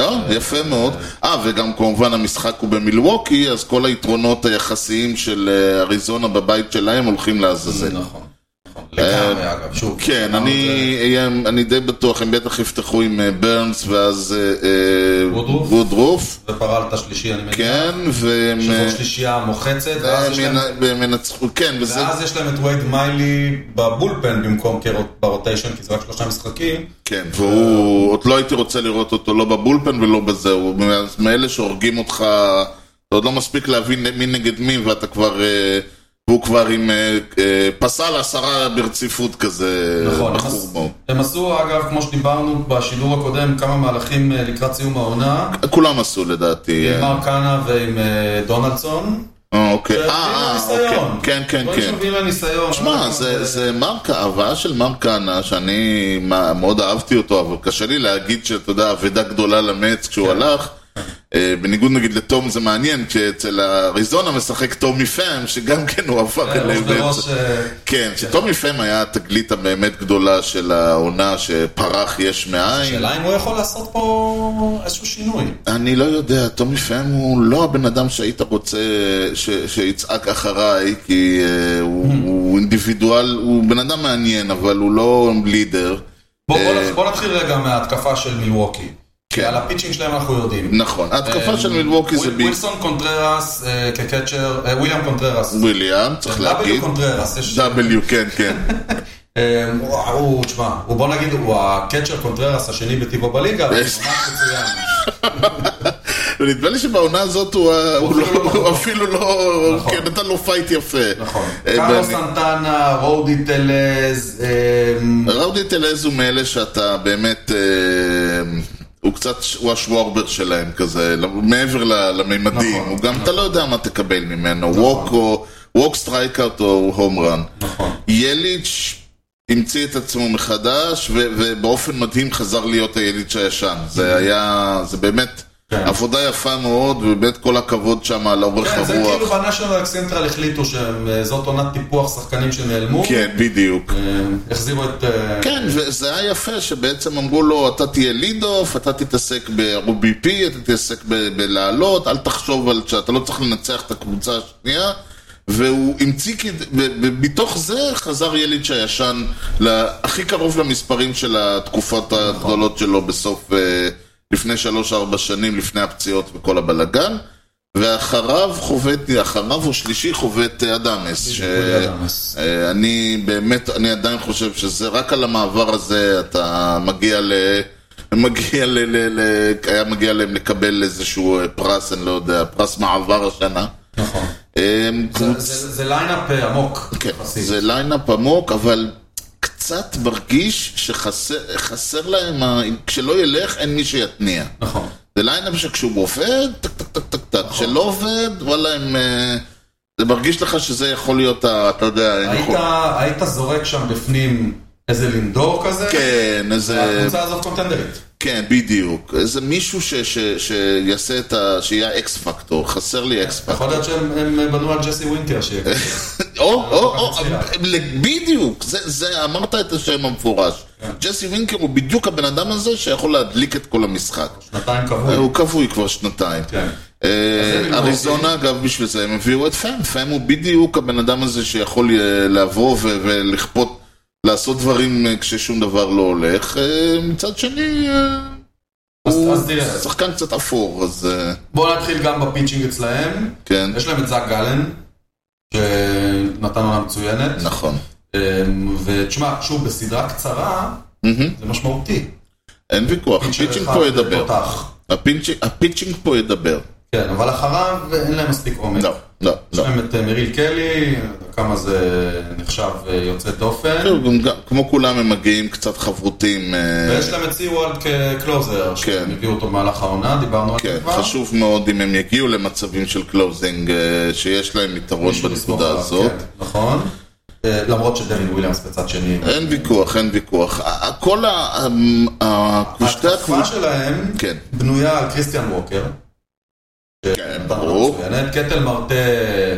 A: לא, יפה מאוד. אה, וגם כמובן המשחק הוא במילווקי, אז כל היתרונות היחסיים של אה, אריזונה בבית שלהם הולכים
B: זה
A: לעזאזל.
B: נכון. נכון. לגמרי, אגב, שוב.
A: כן,
B: אמרנו
A: אני,
B: את זה.
A: אה, אני די בטוח, הם בטח יפתחו עם אה, ברנס ואז אה, אה,
B: וודרוף.
A: וודרוף.
B: ופרל את השלישי, אני מניח.
A: כן, והם... אה,
B: שזאת שלישייה מוחצת, ואז יש להם-
A: והם ינצחו, כן, וזה...
B: ואז יש להם את וייד מיילי בבולפן במקום כרוט- ברוטיישן, כי זה רק שלושה משחקים.
A: כן, והוא, עוד לא הייתי רוצה לראות אותו לא בבולפן ולא בזה, הוא מה- מאלה שהורגים אותך, אתה עוד לא מספיק להבין מי נגד מי, ואתה כבר, אה, והוא כבר עם אה, אה, פסל עשרה ברציפות כזה,
B: נכון,
A: בחור
B: אז-
A: מאוד.
B: הם עשו, אגב, כמו שדיברנו בשידור הקודם, כמה מהלכים אה, לקראת סיום העונה,
A: כולם עשו לדעתי.
B: עם
A: אה,
B: מר קאנה ועם אה, דונלדסון.
A: אה, אוקיי, אה,
B: שהביאו
A: אה,
B: לניסיון.
A: אוקיי, כן, כן,
B: דברים
A: כן.
B: שמביאים לניסיון. אה,
A: שמע, זה, זה מרק, ההבאה של מר כהנא, שאני מה, מאוד אהבתי אותו, אבל קשה לי להגיד שאתה יודע, אבדה גדולה למץ כשהוא הלך. אה, בניגוד נגיד לתום זה מעניין, שאצל אריזונה משחק טומי פאם, שגם כן הוא עבר
B: ראש
A: אליהם
B: בראש,
A: באמצע.
B: אה,
A: כן, שטומי פאם היה התגלית הבאמת גדולה של העונה, שפרח יש מאין.
B: השאלה אם הוא יכול לעשות פה איזשהו שינוי.
A: אני לא יודע, טומי פאם הוא לא הבן אדם שהיית רוצה ש, שיצעק אחריי, כי uh, הוא,
B: Hmm.
A: הוא אינדיבידואל, הוא בן אדם מעניין, אבל הוא לא לידר.
B: בוא- בוא נתחיל- בוא נתחיל רגע מההתקפה של מילווקי. כי על הפיצ'ינג שלהם אנחנו יודעים.
A: נכון, ההתקפה של מילווקי זה
B: אמ, וויל-
A: בי
B: ווילסון קונטררס אה, כקצ'ר, אה, וויליאם קונטררס.
A: וויליאם, צריך
B: W
A: להגיד.
B: קונטררס, יש...
A: W, כן, כן.
B: אה, הוא- הוא, תשמע, הוא בוא נגיד, הוא הקצ'ר קונטררס השני בטיבו בליגה, אבל הוא
A: יש.
B: ממש מצוין.
A: ונדמה לי שבעונה הזאת הוא ה- הוא
B: אפילו
A: לא-
B: לא-
A: הוא אפילו לא,
B: נכון.
A: כן, נתן לו פייט יפה.
B: נכון.
A: אה,
B: קארו
A: ואני-
B: סנטנה, רודי טלז, אה,
A: ראודי טלז הוא מאלה שאתה באמת, אה, הוא קצת, הוא השוורבר שלהם כזה, לא- מעבר ל- לממדים,
B: נכון,
A: הוא גם, אתה לא יודע מה תקבל ממנו, ווק או, ווק סטרייקאוט או הום רן.
B: נכון.
A: יליץ' המציא את עצמו מחדש, ו- ובאופן מדהים חזר להיות היליץ' הישן. זה היה, זה באמת
B: Mm-hmm. כן.
A: עבודה יפה מאוד, ובאמת כל הכבוד שם על אורך
B: כן, זה כאילו
A: הרוח.
B: בנאשונל סנטרל החליטו שזאת עונת טיפוח שחקנים שנעלמו.
A: כן, בדיוק.
B: אה, החזירו את... אה,
A: כן, וזה היה יפה שבעצם אמרו לו, אתה תהיה ליד-אוף, אתה תתעסק ב-OBP, אתה תתעסק ב- בלעלות, אל תחשוב על שאתה לא צריך לנצח את הקבוצה השנייה. והוא המציא, כד- ו- ומתוך זה חזר יליץ' הישן, ל- הכי קרוב למספרים של התקופות הגדולות שלו בסוף, אה, לפני שלוש-ארבע שנים, לפני הפציעות וכל הבלגן. ואחריו חובט, אחריו או שלישי חובט אה, אדמס. ש-
B: אולי אדמס.
A: אה, אני באמת, אני עדיין חושב שזה רק על המעבר הזה אתה מגיע ל... מגיע ל... ל... ל... היה מגיע להם לקבל איזשהו אה, פרס, אני לא יודע, פרס מעבר השנה.
B: נכון.
A: אה,
B: זה- זה זה ליינאפ אה, עמוק.
A: כן,
B: יחסית.
A: זה ליינאפ עמוק, אבל קצת מרגיש שחסר חסר להם, ה- כשלא ילך אין מי שיתניע.
B: נכון.
A: זה ליינאפ שכשהוא עובד, טק טק טק טק טק, כשלא עובד, וואלה הם... אה, זה מרגיש לך שזה יכול להיות, ה- אתה יודע, הם
B: היית,
A: יכול-
B: היית זורק שם בפנים איזה לינדור כזה?
A: כן, איזה...
B: הקבוצה הזאת קונטנדרית.
A: כן, בדיוק. איזה מישהו ש, ש, שיעשה את ה... שיהיה אקס פקטור, חסר לי אקס פקטור.
B: יכול להיות שהם הם אה, בנו על ג'סי ווינטר
A: אה.
B: שיהיה.
A: או, או, או,
B: מצליח.
A: בדיוק, זה, זה, אמרת את השם המפורש.
B: כן.
A: ג'סי וינקר הוא בדיוק הבן אדם הזה שיכול להדליק את כל המשחק.
B: שנתיים קבוע.
A: אה, הוא כבוי כבר שנתיים.
B: כן.
A: אה,
B: אז הם
A: אריזונה, אגב, בשביל זה הם הביאו את פאם. פאם הוא בדיוק הבן אדם הזה שיכול אה, לבוא ו- ולכפות. לעשות דברים אה, כששום דבר לא הולך. אה, מצד שני, אה,
B: אז-
A: הוא
B: אז תראה.
A: שחקן קצת אפור, אז אה,
B: בואו נתחיל גם בפיצ'ינג אצלהם.
A: כן,
B: יש להם את זאק גלן, שנתן עונה מצוינת.
A: נכון.
B: אמ, ותשמע, שוב, בסדרה קצרה,
A: מהמם.
B: זה משמעותי.
A: אין ויכוח,
B: פיצ'ר
A: הפיצ'ינג
B: אחד
A: נכון, פה ידבר.
B: פותח.
A: הפיצ'ינג- הפיצ'ינג פה ידבר.
B: כן, אבל אחריו אין להם מספיק עומק.
A: לא, לא,
B: יש
A: לא.
B: להם את אה, מריל קלי, כמה זה נחשב אה, יוצא דופן.
A: זהו, גם- גם- כמו כולם הם מגיעים קצת חברותים. אה,
B: ויש להם את סי-וולד כקלוזר, שהם הביאו אותו במהלך העונה, דיברנו על זה
A: כן,
B: כבר.
A: חשוב מאוד אם הם יגיעו למצבים של קלוזינג, אה, שיש להם יתרון
B: מישהו לסמוך
A: בנקודה
B: עליו,
A: הזאת.
B: כן, נכון. אה, למרות שדווין וויליאמס בצד שני.
A: אין ויכוח, אין ויכוח. ה- ה- כל הקושטי
B: ההתקפה
A: הקבוצה...
B: שלהם
A: כן.
B: בנויה על כריסטיאן ווקר.
A: כן,
B: נתן עונה
A: ברור.
B: מצוינת. קטל מרטה,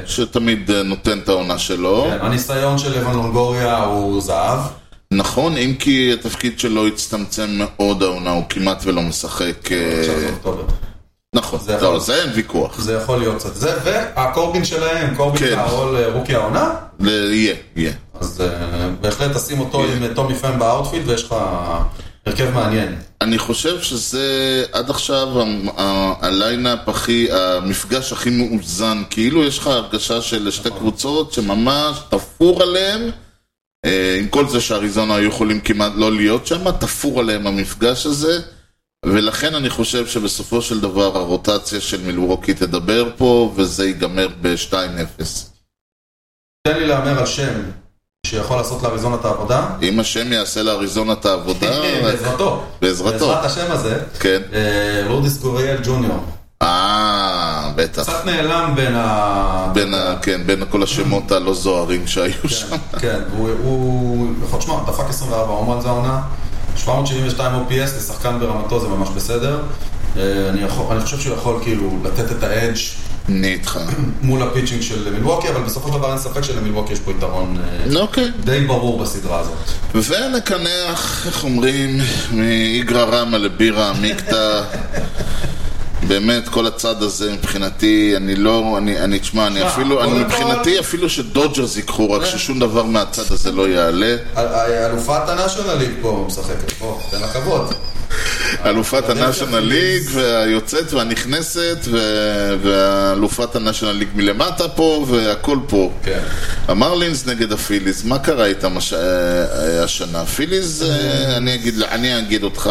A: שתמיד אה, נותן את העונה שלו.
B: כן, הניסיון של לבן לונגוריה הוא זהב.
A: נכון, אם כי התפקיד שלו הצטמצם מאוד העונה, הוא כמעט ולא משחק. אה,
B: עכשיו זה אוקטובר.
A: נכון,
B: זה יכול-
A: לא, זה אין ויכוח.
B: זה יכול להיות קצת זה, והקורבין שלהם, קורבין
A: כן.
B: והעול אה, רוקי העונה,
A: זה יהיה, יהיה.
B: אז אה, בהחלט תשים אותו עם אה, טומי פן באאוטפילד ויש לך הרכב מעניין.
A: אני חושב שזה עד עכשיו המ- ה- הליינאפ הכי, המפגש הכי מאוזן, כאילו יש לך הרגשה של שתי
B: נכון.
A: קבוצות שממש תפור עליהם, אה, עם כל זה שאריזונה היו יכולים כמעט לא להיות שם, תפור עליהם המפגש הזה, ולכן אני חושב שבסופו של דבר הרוטציה של מילוורוקי תדבר פה, וזה ייגמר ב-2-0.
B: תן לי להמר על שם שיכול לעשות לאריזונה את העבודה.
A: אם השם יעשה לאריזונה את העבודה,
B: בעזרתו.
A: בעזרתו,
B: בעזרת השם הזה.
A: כן.
B: אה, לורדיס גוריאל ג'וניור.
A: אה, בטח.
B: קצת נעלם בין ה...
A: בין, ה, כן, בין כל השמות הלא זוהרים שהיו שם.
B: כן, כן, הוא- הוא... יכול- שמע, דפק 24 הומרן זה העונה, 772 OPS לשחקן ברמתו זה ממש בסדר. אה, אני יכול- אני חושב שהוא יכול כאילו לתת את האדג'
A: אני איתך.
B: מול הפיצ'ינג של מילווקי, אבל בסופו של דבר אין ספק שלמילווקי יש פה יתרון אה,
A: אוקיי.
B: די ברור בסדרה הזאת.
A: ונקנח, איך אומרים, מאיגרא רמא לבירה עמיקתא. באמת, כל הצד הזה מבחינתי, אני לא, אני, אני תשמע, אני
B: שמע,
A: אפילו, אני
B: קודם כן.
A: מבחינתי אפילו שדודג'רס ייקחו, רק ששום דבר מהצד הזה לא יעלה.
B: אל- אל- אלופת הנאשונל ליג פה משחקת, בוא, תן לה כבוד.
A: אלופת הנאשונל ליג, והיוצאת והנכנסת, ו- ואלופת הנאשונל ליג מלמטה פה, והכל פה.
B: כן.
A: המרלינס נגד הפיליז, מה קרה איתם הש... אה, אה, השנה? הפיליז, אה, אני אגיד, אני אגיד אותך,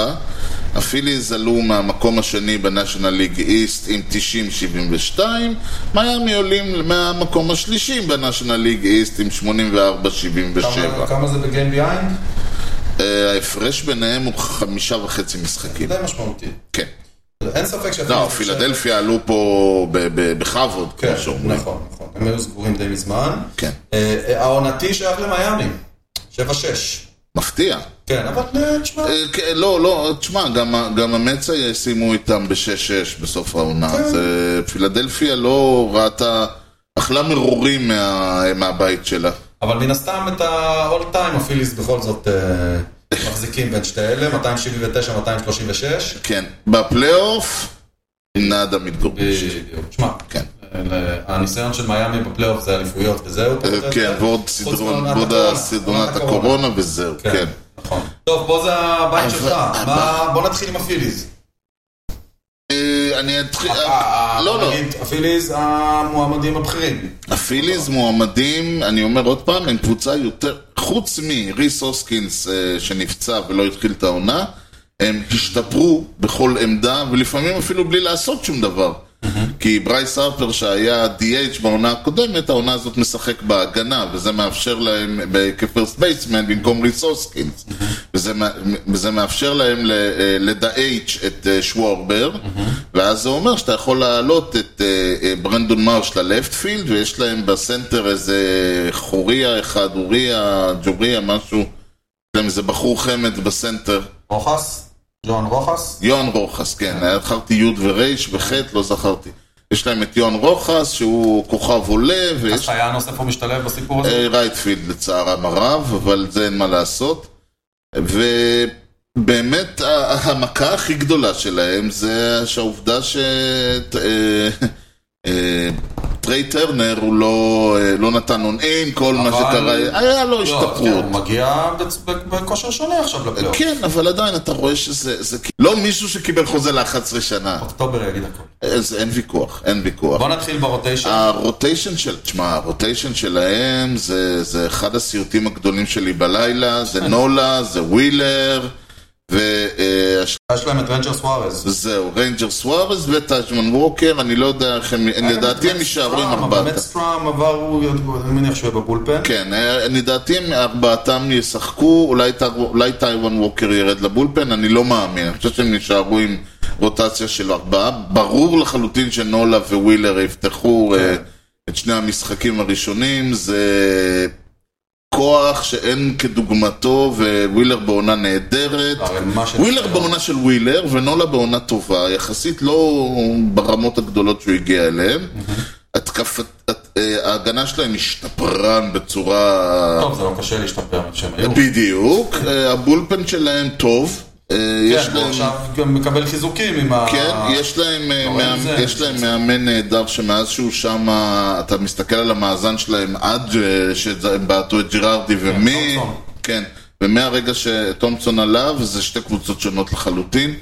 A: הפיליז עלו מהמקום השני בניישנל ליג איסט עם 90-72, מיאמי עולים מהמקום השלישי בניישנל ליג איסט עם 84-77.
B: כמה- כמה זה בגיים ביינד?
A: אה, ההפרש ביניהם הוא חמישה וחצי משחקים.
B: די משמעותי.
A: כן.
B: אין ספק שאתה...
A: לא, פילדלפיה עלו פה ב- ב- בכבוד,
B: כן,
A: כמו שאומרים.
B: נכון, נכון. הם היו סגורים די מזמן.
A: כן.
B: אה, העונתי שייך למיאמי, 7-6.
A: מפתיע.
B: כן, אבל אה, תשמע,
A: אה, כן, לא, לא, תשמע, גם, ה- גם המצע סיימו איתם ב-6-6 בסוף העונה. זה, פילדלפיה לא ראתה, אכלה מרורים מה, מהבית שלה.
B: אבל מן הסתם את ה-all time הפיליס בכל זאת אה, מחזיקים בין שתי אלה, 279-236.
A: כן, בפלייאוף, נאדה מתגורש.
B: בדיוק. תשמע,
A: כן.
B: אה, הניסיון של מיאמי בפלייאוף זה אליפויות וזהו. פחות או
A: אה, כן,
B: יותר.
A: ועוד
B: חוץ מעונת
A: סדרון, ועוד
B: הקורונה.
A: הסדרונת
B: עונת הקורונה.
A: הקורונה וזהו, כן.
B: נכון. טוב, פה זה הבית
A: אבל-
B: שלך. מה- בוא נתחיל עם הפיליס.
A: אה, אני אתחיל,
B: אה,
A: לא, לא.
B: נגיד, הפיליס המועמדים הבכירים.
A: הפיליז מועמדים, אני אומר עוד פעם, הם קבוצה יותר, חוץ מריס הוסקינס אה, שנפצע ולא התחיל את העונה, הם השתפרו בכל עמדה, ולפעמים אפילו בלי לעשות שום דבר. כי ברייס הרפר שהיה DH בעונה הקודמת, העונה הזאת משחק בהגנה, וזה מאפשר להם, ב- כפרסט בייסמן במקום ריס הוסקינס. וזה, מא- וזה מאפשר להם ל- אה, לדאייץ' את אה, שוורבר, ואז זה אומר שאתה יכול להעלות את אה, אה, ברנדון מרש ללפט פילד, ויש להם בסנטר איזה חוריה אחד, אוריה, ג'וריה, משהו. יש להם איזה בחור חמד בסנטר.
B: רוחס? ג'ון רוחס?
A: יוהן רוחס, כן, היה- זכרתי י' ור' וח', לא זכרתי. יש להם את יוהן רוחס, שהוא כוכב עולה, ויש
B: היה נוסף הוא משתלב בסיפור הזה?
A: אה, רייטפילד לצערם הרב, אבל זה אין מה לעשות. ובאמת ה- המכה הכי גדולה שלהם זה שהעובדה ש... אה, אה, טריי טרנר הוא לא, אה, לא נתן אונאין, כל מה
B: אבל-
A: שקרה, היה לו
B: לא, כן, לא.
A: השתפרות.
B: הוא מגיע בצ- ב- בכושר שונה עכשיו לפלייאוף.
A: כן, אבל עדיין אתה רואה שזה זה כאילו לא מישהו שקיבל חוזה ל-11 שנה.
B: אוקטובר יגיד
A: אה.
B: הכל.
A: אז אין ויכוח, אין ויכוח.
B: בוא נתחיל ברוטיישן.
A: אה. הרוטיישן של, תשמע, הרוטיישן שלהם זה, זה אחד הסיוטים הגדולים שלי בלילה, זה נולה, זה ווילר, אה, וזהו,
B: יש להם את רנג'ר סוארז.
A: ריינג'ר סוארז וטאג'מן ווקר, אני לא יודע איך הם,
B: אה,
A: לדעתי הם יישארו עם
B: אבל
A: ארבעתם.
B: אה, באמת סטראם עבר, הוא- אני מניח שהוא יהיה בבולפן.
A: כן, אה, לדעתי הם ארבעתם ישחקו, אולי, טא- אולי טייוון ווקר ירד לבולפן, אני לא מאמין, אני חושב שהם יישארו עם רוטציה של ארבעה. ברור לחלוטין שנולה ווילר יפתחו אה, את שני המשחקים הראשונים, זה כוח שאין כדוגמתו, ווילר בעונה נהדרת.
B: ערימה של
A: ווילר
B: ניסיון.
A: בעונה של ווילר, ונולה בעונה טובה, יחסית לא ברמות הגדולות שהוא הגיע אליהן. התקפת, הת- אה, ההגנה שלהם השתפרן בצורה...
B: טוב, זה לא קשה להשתפר כשהם
A: כן,
B: היו.
A: בדיוק. אה, הבולפן שלהם טוב. אה, יש
B: כן, הוא
A: להם...
B: עכשיו גם מקבל חיזוקים עם ה...
A: כן, יש להם, אה,
B: רואה
A: מאמן-
B: את זה.
A: יש להם מאמן נהדר שמאז שהוא שם, אתה מסתכל על המאזן שלהם עד אה, שהם בעטו את ג'ירארדי ומי...
B: תומפסון.
A: כן, ומהרגע שתומפסון עליו, זה שתי קבוצות שונות לחלוטין.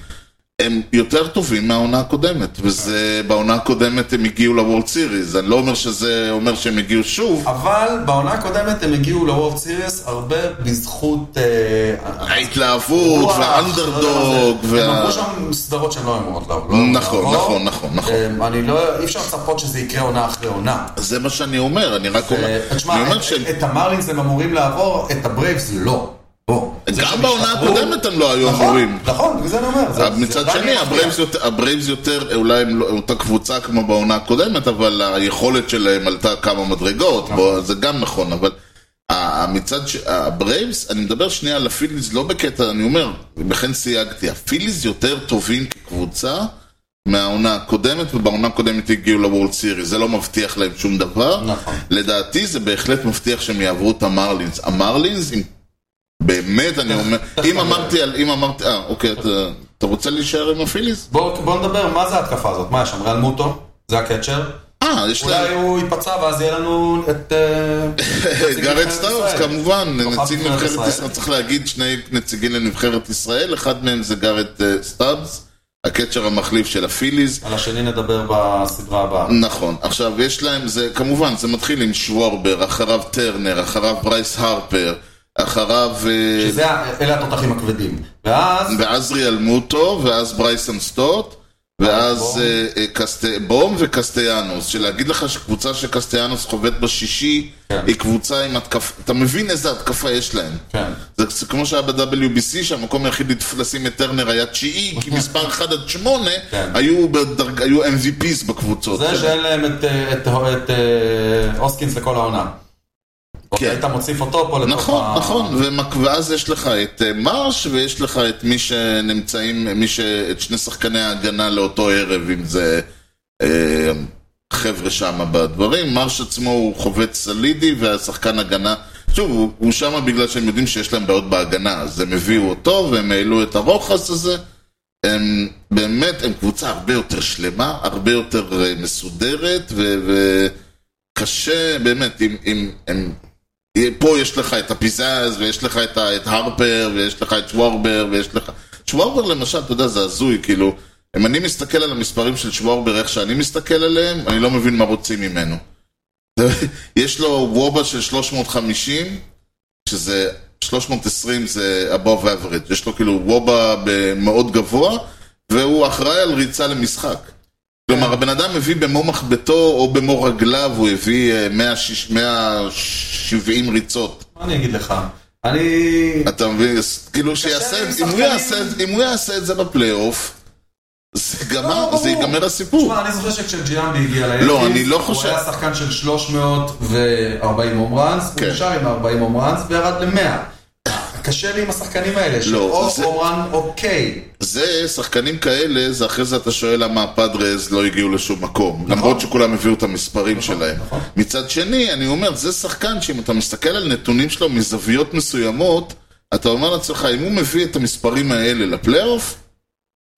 A: הם יותר טובים מהעונה הקודמת, וזה, בעונה הקודמת הם הגיעו לוורלד סיריס, אני לא אומר שזה אומר שהם הגיעו שוב,
B: אבל בעונה הקודמת הם הגיעו לוורד סיריוס הרבה בזכות... אה,
A: ההתלהבות
B: הרוח,
A: והאנדרדוג,
B: לא יודע מה זה. הם
A: וה...
B: עברו שם סדרות שהם לא היו אמורות לעבור.
A: נכון, נכון, נכון, נכון.
B: אה, אני לא... אי אפשר לצפות שזה יקרה עונה אחרי עונה.
A: זה מה שאני אומר, אני רק אומר,
B: אה, תשמע,
A: אני אומר
B: את-
A: שהם
B: את המרלינס הם אמורים לעבור, את הברייבס לא. בוא. זה
A: גם
B: שהם
A: בעונה
B: השתפרו-
A: הקודמת הם לא היו
B: נכון,
A: אמורים.
B: נכון, בגלל זה אני אומר. זה- זה
A: מצד
B: עדיין
A: שני,
B: מפתיע.
A: הברייבס יותר, הברייבס יותר, אולי הם לא, אותה קבוצה כמו בעונה הקודמת, אבל היכולת שלהם עלתה כמה מדרגות, בוא, זה גם נכון, אבל ה- מצד ש... הברייבס, אני מדבר שנייה על הפיליז, לא בקטע, אני אומר, לכן סייגתי, הפיליז יותר טובים כקבוצה מהעונה הקודמת, ובעונה הקודמת הגיעו לוורלד סירי, זה לא מבטיח להם שום דבר.
B: נכון.
A: לדעתי זה בהחלט מבטיח שהם יעברו את המרלינס. המרלינס, אם... באמת, אני אומר, אם אמרתי על, אם אמרתי, אה, אוקיי, אתה- אתה רוצה להישאר עם הפיליס?
B: בואו בואו נדבר, מה זה ההתקפה הזאת? מה, יש שם ריאל מוטו? זה הקצ'ר?
A: אה, יש
B: אולי
A: להם
B: הוא ייפצע ואז יהיה לנו את... אה, נציג
A: גארד
B: נבחרת
A: סטארס,
B: ישראל.
A: כמובן,
B: כוכב
A: נציג
B: נבחרת
A: נבחרת
B: ישראל.
A: ישראל, צריך להגיד שני נציגים לנבחרת ישראל, אחד מהם זה גארד אה, סטארס, הקצ'ר המחליף של הפיליז.
B: על השני נדבר בסדרה הבאה.
A: נכון, עכשיו יש להם, זה כמובן, זה מתחיל עם שוורבר, אחריו טרנר, אחריו ברייס הרפר, אחריו... אה,
B: שזה, ה- אלה התותחים הכבדים. ואז,
A: ואז ריאל מוטו, ואז ברייסון סטוט, ואז
B: בום.
A: אה, אה, קסט... בום וקסטיאנוס. שלהגיד לך שקבוצה שקסטיאנוס חובט בשישי,
B: כן.
A: היא קבוצה עם התקפה, אתה מבין איזה התקפה יש להם.
B: כן,
A: זה זה כמו שהיה ב-WBC, שהמקום היחיד לתפ- לשים את טרנר היה תשיעי, כי מספר 1 עד 8
B: כן.
A: היו, בדרג... היו MVPs בקבוצות.
B: זה
A: שלהם.
B: שאין להם את, אה, את, את אה, אוסקינס לכל העונה.
A: כן.
B: היית מוסיף אותו פה לתוך
A: נכון,
B: ה...
A: נכון, ומק- ואז יש לך את אה, מרש, ויש לך את מי שנמצאים, מי ש... את שני שחקני ההגנה לאותו ערב, אם זה אה, חבר'ה שם בדברים. מרש עצמו הוא חובץ סלידי, והשחקן הגנה, שוב, הוא, הוא שם בגלל שהם יודעים שיש להם בעיות בהגנה, אז הם הביאו אותו, והם העלו את הרוחס הזה. הם באמת, הם קבוצה הרבה יותר שלמה, הרבה יותר אה, מסודרת, ו... ו... קשה, באמת, אם, אם, אם, פה יש לך את הפיזז, ויש לך את, ה- את הרפר, ויש לך את שוורבר, ויש לך... שוורבר למשל, אתה יודע, זה הזוי, כאילו, אם אני מסתכל על המספרים של שוורבר, איך שאני מסתכל עליהם, אני לא מבין מה רוצים ממנו. יש לו וובה של 350, שזה 320 זה above average, יש לו כאילו וובה ב- מאוד גבוה, והוא אחראי על ריצה למשחק. כלומר, הבן אדם הביא במו מחבטו או במו רגליו, הוא הביא אה, 160 170 ריצות.
B: מה אני אגיד לך? אני...
A: אתה מבין? אז כאילו שיעשה
B: עם
A: את אם הוא
B: שחקנים.
A: יעשה את- אם הוא יעשה את זה בפלייאוף, זה גמר,
B: לא, ברור.
A: זה ייגמר הסיפור.
B: תשמע, אני זוכר שכשג'יאנדי הגיע לאלקיס,
A: לא, אני לא חושב-
B: הוא היה שחקן של 340 הום ראנס,
A: כן.
B: הוא נשאר עם 40 הום ראנס וירד ל-100. קשה לי עם השחקנים האלה, של או
A: לא, זה-
B: הום ראן אוקיי.
A: זה, שחקנים כאלה, זה אחרי זה אתה שואל למה הפאדרז לא הגיעו לשום מקום. למרות שכולם הביאו את המספרים שלהם.
B: נכון.
A: מצד שני, אני אומר, זה שחקן שאם אתה מסתכל על נתונים שלו מזוויות מסוימות, אתה אומר לעצמך, אם הוא מביא את המספרים האלה לפלייאוף,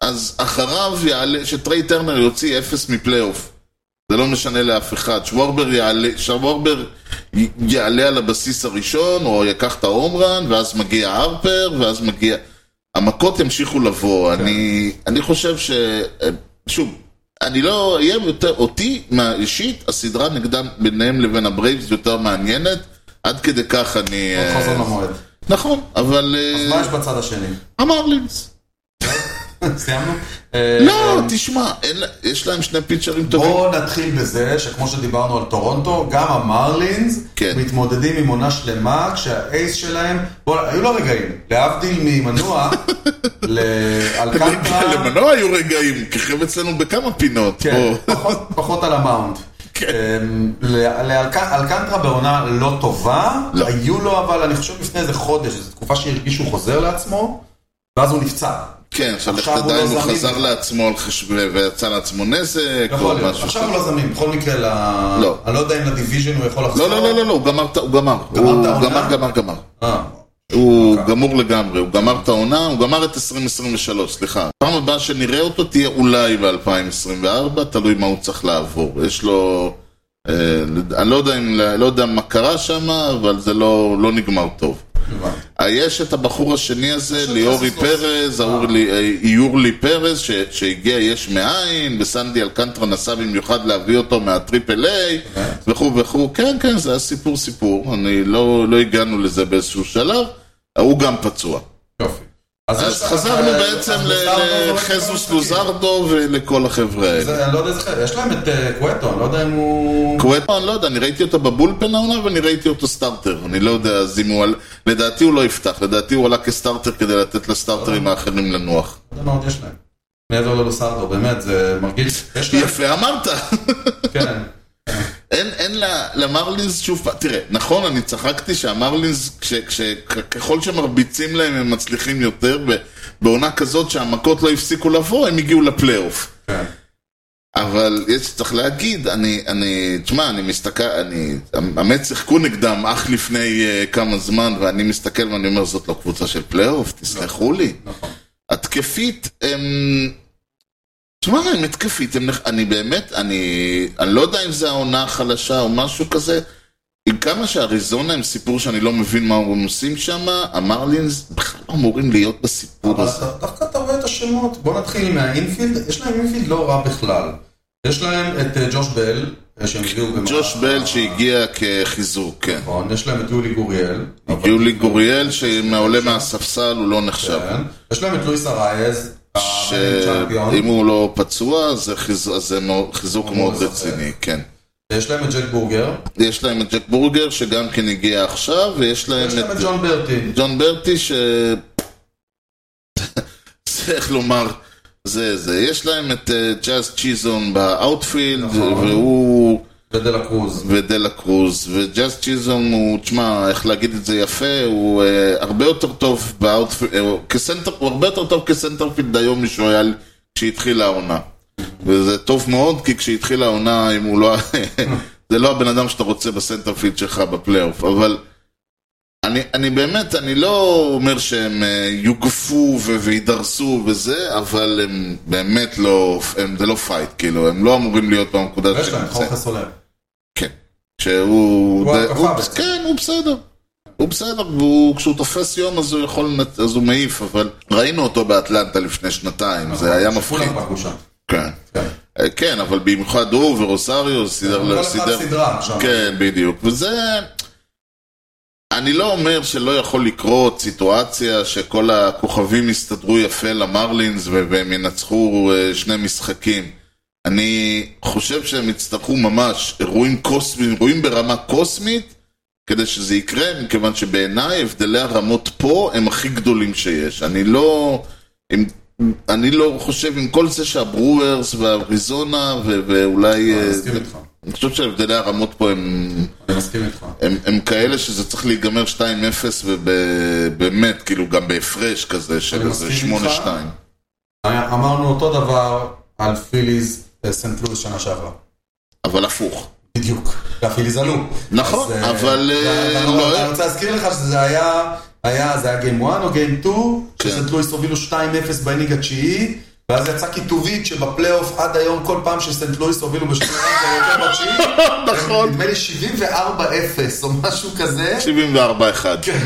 A: אז אחריו יעלה, שטריי טרנר יוציא אפס מפלייאוף. זה לא משנה לאף אחד. שוורבר יעלה, שוורבר י- יעלה על הבסיס הראשון, או יקח את ההומרן, ואז מגיע הרפר, ואז מגיע... המכות ימשיכו לבוא.
B: כן.
A: אני, אני חושב ש... שוב, אני לא אהיה יותר... אותי, מה- אישית, הסדרה נגדם, ביניהם לבין הברייבס, יותר מעניינת. עד כדי כך אני...
B: עוד
A: אה,
B: לא חזון למועד.
A: נכון, אבל... אה,
B: אז מה יש בצד השני?
A: המרלינס.
B: סיימנו? אה,
A: לא, תשמע, אין לה- יש להם שני פיצ'רים טובים.
B: בואו נתחיל בזה שכמו שדיברנו על טורונטו, גם המרלינס
A: כן.
B: מתמודדים עם עונה שלמה כשהאייס שלהם, בואו, היו לו רגעים, להבדיל ממנוע, לאלקנטרה,
A: למנוע היו רגעים, כיכב אצלנו בכמה פינות.
B: כן,
A: בוא.
B: פחות- פחות על המאונט. אמ, ל- לאלק- אלקנטרה בעונה לא טובה,
A: לא.
B: היו לו אבל אני חושב לפני איזה חודש, איזו תקופה שהרגיש שהוא חוזר לעצמו, ואז הוא נפצע.
A: כן, עכשיו לך
B: עכשיו הוא
A: תדע
B: לא
A: אם הוא
B: זמין.
A: חזר לעצמו על חש- ו- ויצא לעצמו נזק,
B: יכול
A: או
B: להיות,
A: משהו
B: עכשיו
A: כזה.
B: הוא לא זמין, בכל מקרה, ל-
A: לא.
B: אני לא יודע אם לדיוויז'ן הוא יכול לחזור.
A: לא, לא, לא, לא, לא, הוא גמר, את- הוא גמר. הוא
B: את העונה?
A: גמר, גמר, גמר.
B: אה,
A: הוא גמור לגמרי, הוא גמר את העונה, הוא גמר את 2023, סליחה. פעם הבאה שנראה אותו תהיה אולי ב-2024, תלוי מה הוא צריך לעבור. יש לו... אה, אני לא יודע, אם, לא יודע מה קרה שם, אבל זה לא, לא נגמר טוב.
B: הבנתי.
A: אה, יש את הבחור השני הזה,
B: של
A: ליאורי
B: קסוס.
A: פרז, האורלי- אה, יורלי פרז, ש- שהגיע יש מאין, וסנדי אלקנטרה נסע במיוחד להביא אותו מהטריפל איי, וכו' וכו', כן, כן, זה היה סיפור סיפור, אני לא לא הגענו לזה באיזשהו שלב, ההוא גם פצוע.
B: יופי. אז, יש
A: אז
B: לך-
A: חזרנו
B: אה,
A: בעצם
B: אז
A: ל-
B: לוזרדו
A: לחזוס
B: לא משחקים.
A: לוזרדו ולכל החבר'ה האלה.
B: זה- אני לא יודע איזה חלק, יש להם את אה, קואטו, אני לא יודע אם הוא...
A: קווטו, אני לא יודע, אני ראיתי אותו בבולפן העונה ואני ראיתי אותו סטארטר. אני לא יודע, אז אם הוא... על- לדעתי הוא לא יפתח, לדעתי הוא עלה כסטארטר כדי לתת
B: אה.
A: לסטארטרים האחרים לנוח.
B: לא יודע מה עוד יש להם. מעבר ללוסרדו, באמת, זה מרגיש... יש להם,
A: יפה אמרת.
B: כן.
A: אין, אין ל- למרלינס שוב פעם, תראה, נכון, אני צחקתי שהמרלינס, כש- כש- כ- ככל שמרביצים להם הם מצליחים יותר, ובעונה כזאת שהמכות לא הפסיקו לבוא, הם הגיעו לפלייאוף.
B: כן.
A: אבל יש, צריך להגיד, אני, אני, תשמע, אני מסתכל, אני, באמת שיחקו נגדם אך לפני uh, כמה זמן, ואני מסתכל ואני אומר, זאת לא קבוצה של פלייאוף, תסלחו לי.
B: לא. נכון.
A: התקפית, הם... תשמע, הם התקפית, הם... נח- אני באמת, אני... אני לא יודע אם זה העונה החלשה או משהו כזה. עם כמה שאריזונה הם סיפור שאני לא מבין מה הם עושים שם, המרלינס בכלל לא אמורים להיות בסיפור
B: אבל
A: הזה.
B: אתה- דווקא אתה רואה את השמות. בוא נתחיל מהאינפילד, יש להם אינפילד לא רע בכלל. יש להם את אה, ג'וש בל, אה, שהם הביאו במהלך-
A: ג'וש בל שהגיע כחיזוק, כן.
B: נכון, יש להם את יולי גוריאל. אבל-
A: יולי גוריאל שעולה מהספסל הוא לא נחשב.
B: כן. יש להם את לואיס ארייז,
A: ש-
B: הצ'אמפיון.
A: אם הוא לא פצוע, זה חיז- אז זה מאוד- חיזוק
B: אמור
A: מאוד
B: לשחק.
A: רציני, כן.
B: יש להם את ג'ק בורגר.
A: יש להם את ג'ק בורגר שגם כן הגיע עכשיו, ויש להם
B: יש להם את ג'ון ברטי.
A: ג'ון ברטי ש... זה, איך לומר, זה זה. יש להם את אה, ג'אז צ'יזון באאוטפילד,
B: נכון.
A: והוא
B: ודלה קרוז.
A: ודלה קרוז, וג'אז צ'יזון הוא, תשמע, איך להגיד את זה יפה, הוא אה, הרבה יותר טוב באאוטפילד, אה, כסנטר, הוא הרבה יותר טוב כסנטרפילד היום משהוא היה כשהתחילה העונה. וזה טוב מאוד, כי כשהתחילה העונה, אם הוא לא... זה לא הבן אדם שאתה רוצה בסנטרפילד שלך בפלייאוף, אבל... אני, אני באמת, אני לא אומר שהם אה, יוגפו ו- וידרסו וזה, אבל הם באמת לא, הם, זה לא פייט, כאילו, הם לא אמורים להיות בנקודה
B: ויש
A: שהם
B: להם את
A: נמצאים.
B: חורכה סולר.
A: כן. שהוא...
B: הוא
A: די-
B: התקפה
A: הוא-
B: בעצם.
A: כן, הוא בסדר. הוא בסדר, והוא- כשהוא תופס יום אז הוא יכול, לנ- אז הוא מעיף, אבל ראינו אותו באטלנטה לפני שנתיים, זה היה מפחיד.
B: כולם פגעו שם.
A: כן.
B: כן.
A: אה, כן, אבל במיוחד הוא ורוsario סידר...
B: כל
A: לו-
B: אחד
A: סידר-
B: סדרה שם.
A: כן, בדיוק. וזה... אני לא אומר שלא יכול לקרות סיטואציה שכל הכוכבים יסתדרו יפה למרלינס ו- והם ינצחו אה, שני משחקים. אני חושב שהם יצטרכו ממש אירועים קוסמיים, אירועים ברמה קוסמית, כדי שזה יקרה, מכיוון שבעיניי הבדלי הרמות פה הם הכי גדולים שיש. אני לא... עם, אני לא חושב, עם כל זה שהברוארס והאריזונה ו- ואולי...
B: אני
A: אה,
B: מסכים איתך.
A: אני חושב שהבדלי הרמות פה הם,
B: אני מסכים איתך.
A: הם, הם כאלה שזה צריך להיגמר 2-0 ובאמת, כאילו גם בהפרש כזה של
B: אני
A: איזה
B: מסכים
A: 8-2.
B: איתך. אמרנו אותו דבר על פיליז אה, סנט לואיס שנה שעברה.
A: אבל הפוך.
B: בדיוק. והפיליז עלו.
A: נכון,
B: אז, אה,
A: אבל, אה,
B: ואני
A: לא-
B: אני רוצה להזכיר לך שזה היה, היה, זה היה גיים 1 או גיים 2,
A: כן.
B: שסנט לואיס הובילו 2-0 באינינג התשיעי, ואז יצאה כיתובית שבפלייאוף עד היום, כל פעם שסנט לואיס הובילו בשני רנדל יותר בתשיעי,
A: נכון.
B: נדמה לי 74-0 או משהו כזה,
A: 74-1.
B: כן.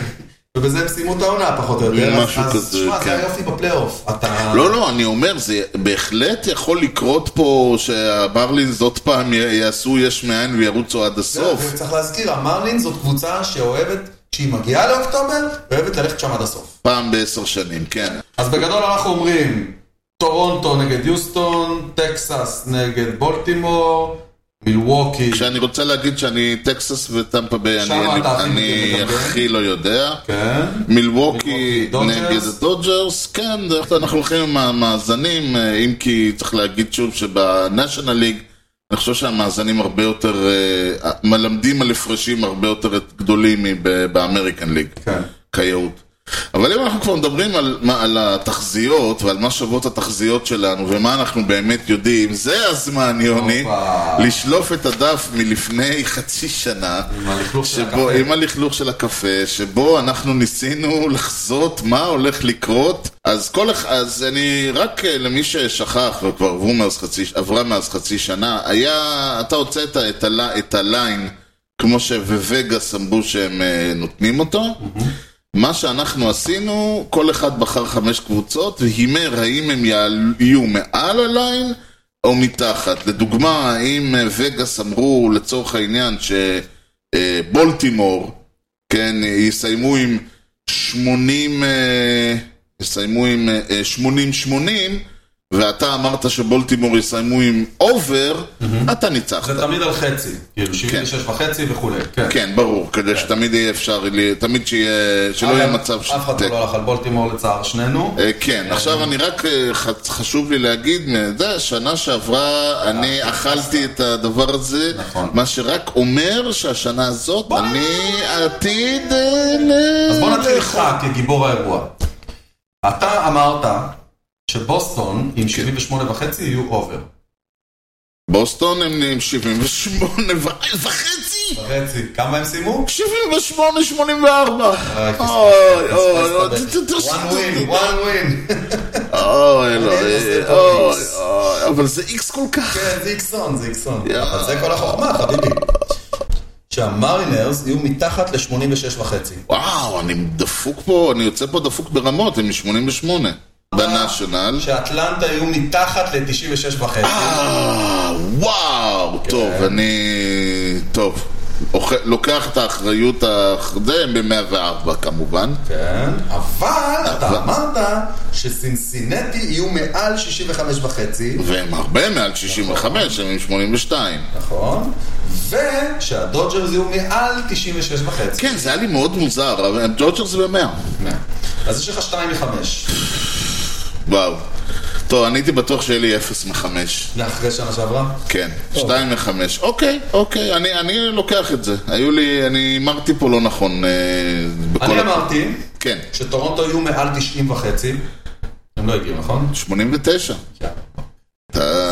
B: ובזה הם סיימו את העונה פחות או יותר. אז-
A: משהו
B: אז
A: כזה,
B: תשמע,
A: כן.
B: זה היופי בפלייאוף. אתה...
A: לא, לא, אני אומר, זה בהחלט יכול לקרות פה שהמרלינס עוד פעם י- יעשו יש מאין וירוצו עד הסוף.
B: צריך להזכיר, המרלין זאת קבוצה שאוהבת, כשהיא מגיעה לאוקטובר, אוהבת ללכת שם עד הסוף.
A: פעם בעשר שנים, כן.
B: אז בגדול אנחנו אומרים, טורונטו נגד יוסטון, טקסס נגד בולטימור, מילווקי.
A: כשאני רוצה להגיד שאני טקסס וטמפה ביי,
B: שם
A: אני, אני,
B: אתה הכי
A: אני
B: מגמגם.
A: הכי לא יודע.
B: כן. מילווקי,
A: מילווקי
B: דודג'רס.
A: נגד הדודג'רס, כן, דרך אגב אנחנו הולכים עם המאזנים, אה, אם כי צריך להגיד שוב שבניישנל ליג, אני חושב שהמאזנים הרבה יותר, אה, מלמדים על הפרשים הרבה יותר גדולים מבאמריקן ליג.
B: כן.
A: כיאות. אבל אם אנחנו כבר מדברים על, מה- על התחזיות ועל מה שוות התחזיות שלנו ומה אנחנו באמת יודעים, זה הזמן, יוני,
B: הופה.
A: לשלוף את הדף מלפני חצי שנה,
B: עם הלכלוך של
A: שבו,
B: הקפה.
A: עם הלכלוך של הקפה, שבו אנחנו ניסינו לחזות מה הולך לקרות. אז כל אחד, אז אני, רק אה, למי ששכח, וכבר עברו מאז חצי, עברה מאז חצי שנה, היה, אתה הוצאת את, הל, את הליין, כמו שבווגאס אמרו שהם אה, נותנים אותו.
B: Mm-hmm.
A: מה שאנחנו עשינו, כל אחד בחר חמש קבוצות והימר האם הם יעל- יהיו מעל הליין או מתחת. לדוגמה, האם אה, וגאס אמרו לצורך העניין שבולטימור, אה, כן, יסיימו עם 80, אה, יסיימו עם אה, 80-80, ואתה אמרת שבולטימור יסיימו עם אובר, אתה ניצחת.
B: זה תמיד על חצי, כאילו 76 וחצי וכולי. כן.
A: כן, ברור, כדי שתמיד יהיה אפשר, תמיד שיהיה, שלא יהיה
B: אגב,
A: מצב
B: אף אחד פה
A: תיקו.
B: לא הלך על בולטימור לצער שנינו.
A: אה, כן, עכשיו אני רק, אה, ח- חשוב לי להגיד, אה, זה, שנה שעברה אני אכלתי את הדבר הזה,
B: אה, נכון.
A: מה שרק אומר שהשנה הזאת אני עתיד אה, ל-
B: אז בוא נתחיל איתך כגיבור האירוע. אתה אמרת שבוסטון
A: כן.
B: עם 78 וחצי יהיו אובר.
A: בוסטון הם נהיים 78 ו- וחצי!
B: וחצי. כמה הם סיימו?
A: 78, 84!
B: אה, פספסת,
A: אוי, אוי, אוי,
B: פספסת
A: ת- ת-
B: ב-
A: ת-
B: one win, one win.
A: אוי, אלוהי,
B: זה טוב,
A: אוי,
B: איקס.
A: אוי, אבל זה איקס כל כך...
B: כן, זה איקסון, זה איקסון.
A: יואו.
B: אבל זה כל החוכמה, חביבי. שהמרינרס יהיו מתחת ל-86 וחצי.
A: וואו, אני דפוק פה, אני יוצא פה דפוק ברמות, הם מ-88. בנאשונל.
B: שאטלנטה יהיו מתחת ל-96 וחצי.
A: אה, וואו, טוב, אני... טוב. אוכ- לוקח את האחריות, האח- זה הם ב-104 כמובן.
B: כן. אבל אתה אמרת שסינסינטי יהיו מעל 65 וחצי.
A: והם הרבה מעל 65, הם עם 82.
B: נכון. ושהדודג'רס יהיו מעל 96 וחצי.
A: כן, זה היה לי מאוד מוזר, אבל לא הם ג'ודג'רס ב-100.
B: אז יש לך 2 מ-5.
A: וואו. טוב, אני הייתי בטוח שיהיה לי 0 מ-5.
B: לאחרי שנה שעברה.
A: כן, 2 מ-5. אוקיי, אוקיי, אני- אני לוקח את זה. היו לי, אני אמרתי פה לא נכון. אה, בכל
B: אני
A: ה-
B: אמרתי
A: כן,
B: שטורונטו יהיו מעל 90 וחצי. הם לא הגיעו, נכון?
A: 89.
B: כן.
A: אתה...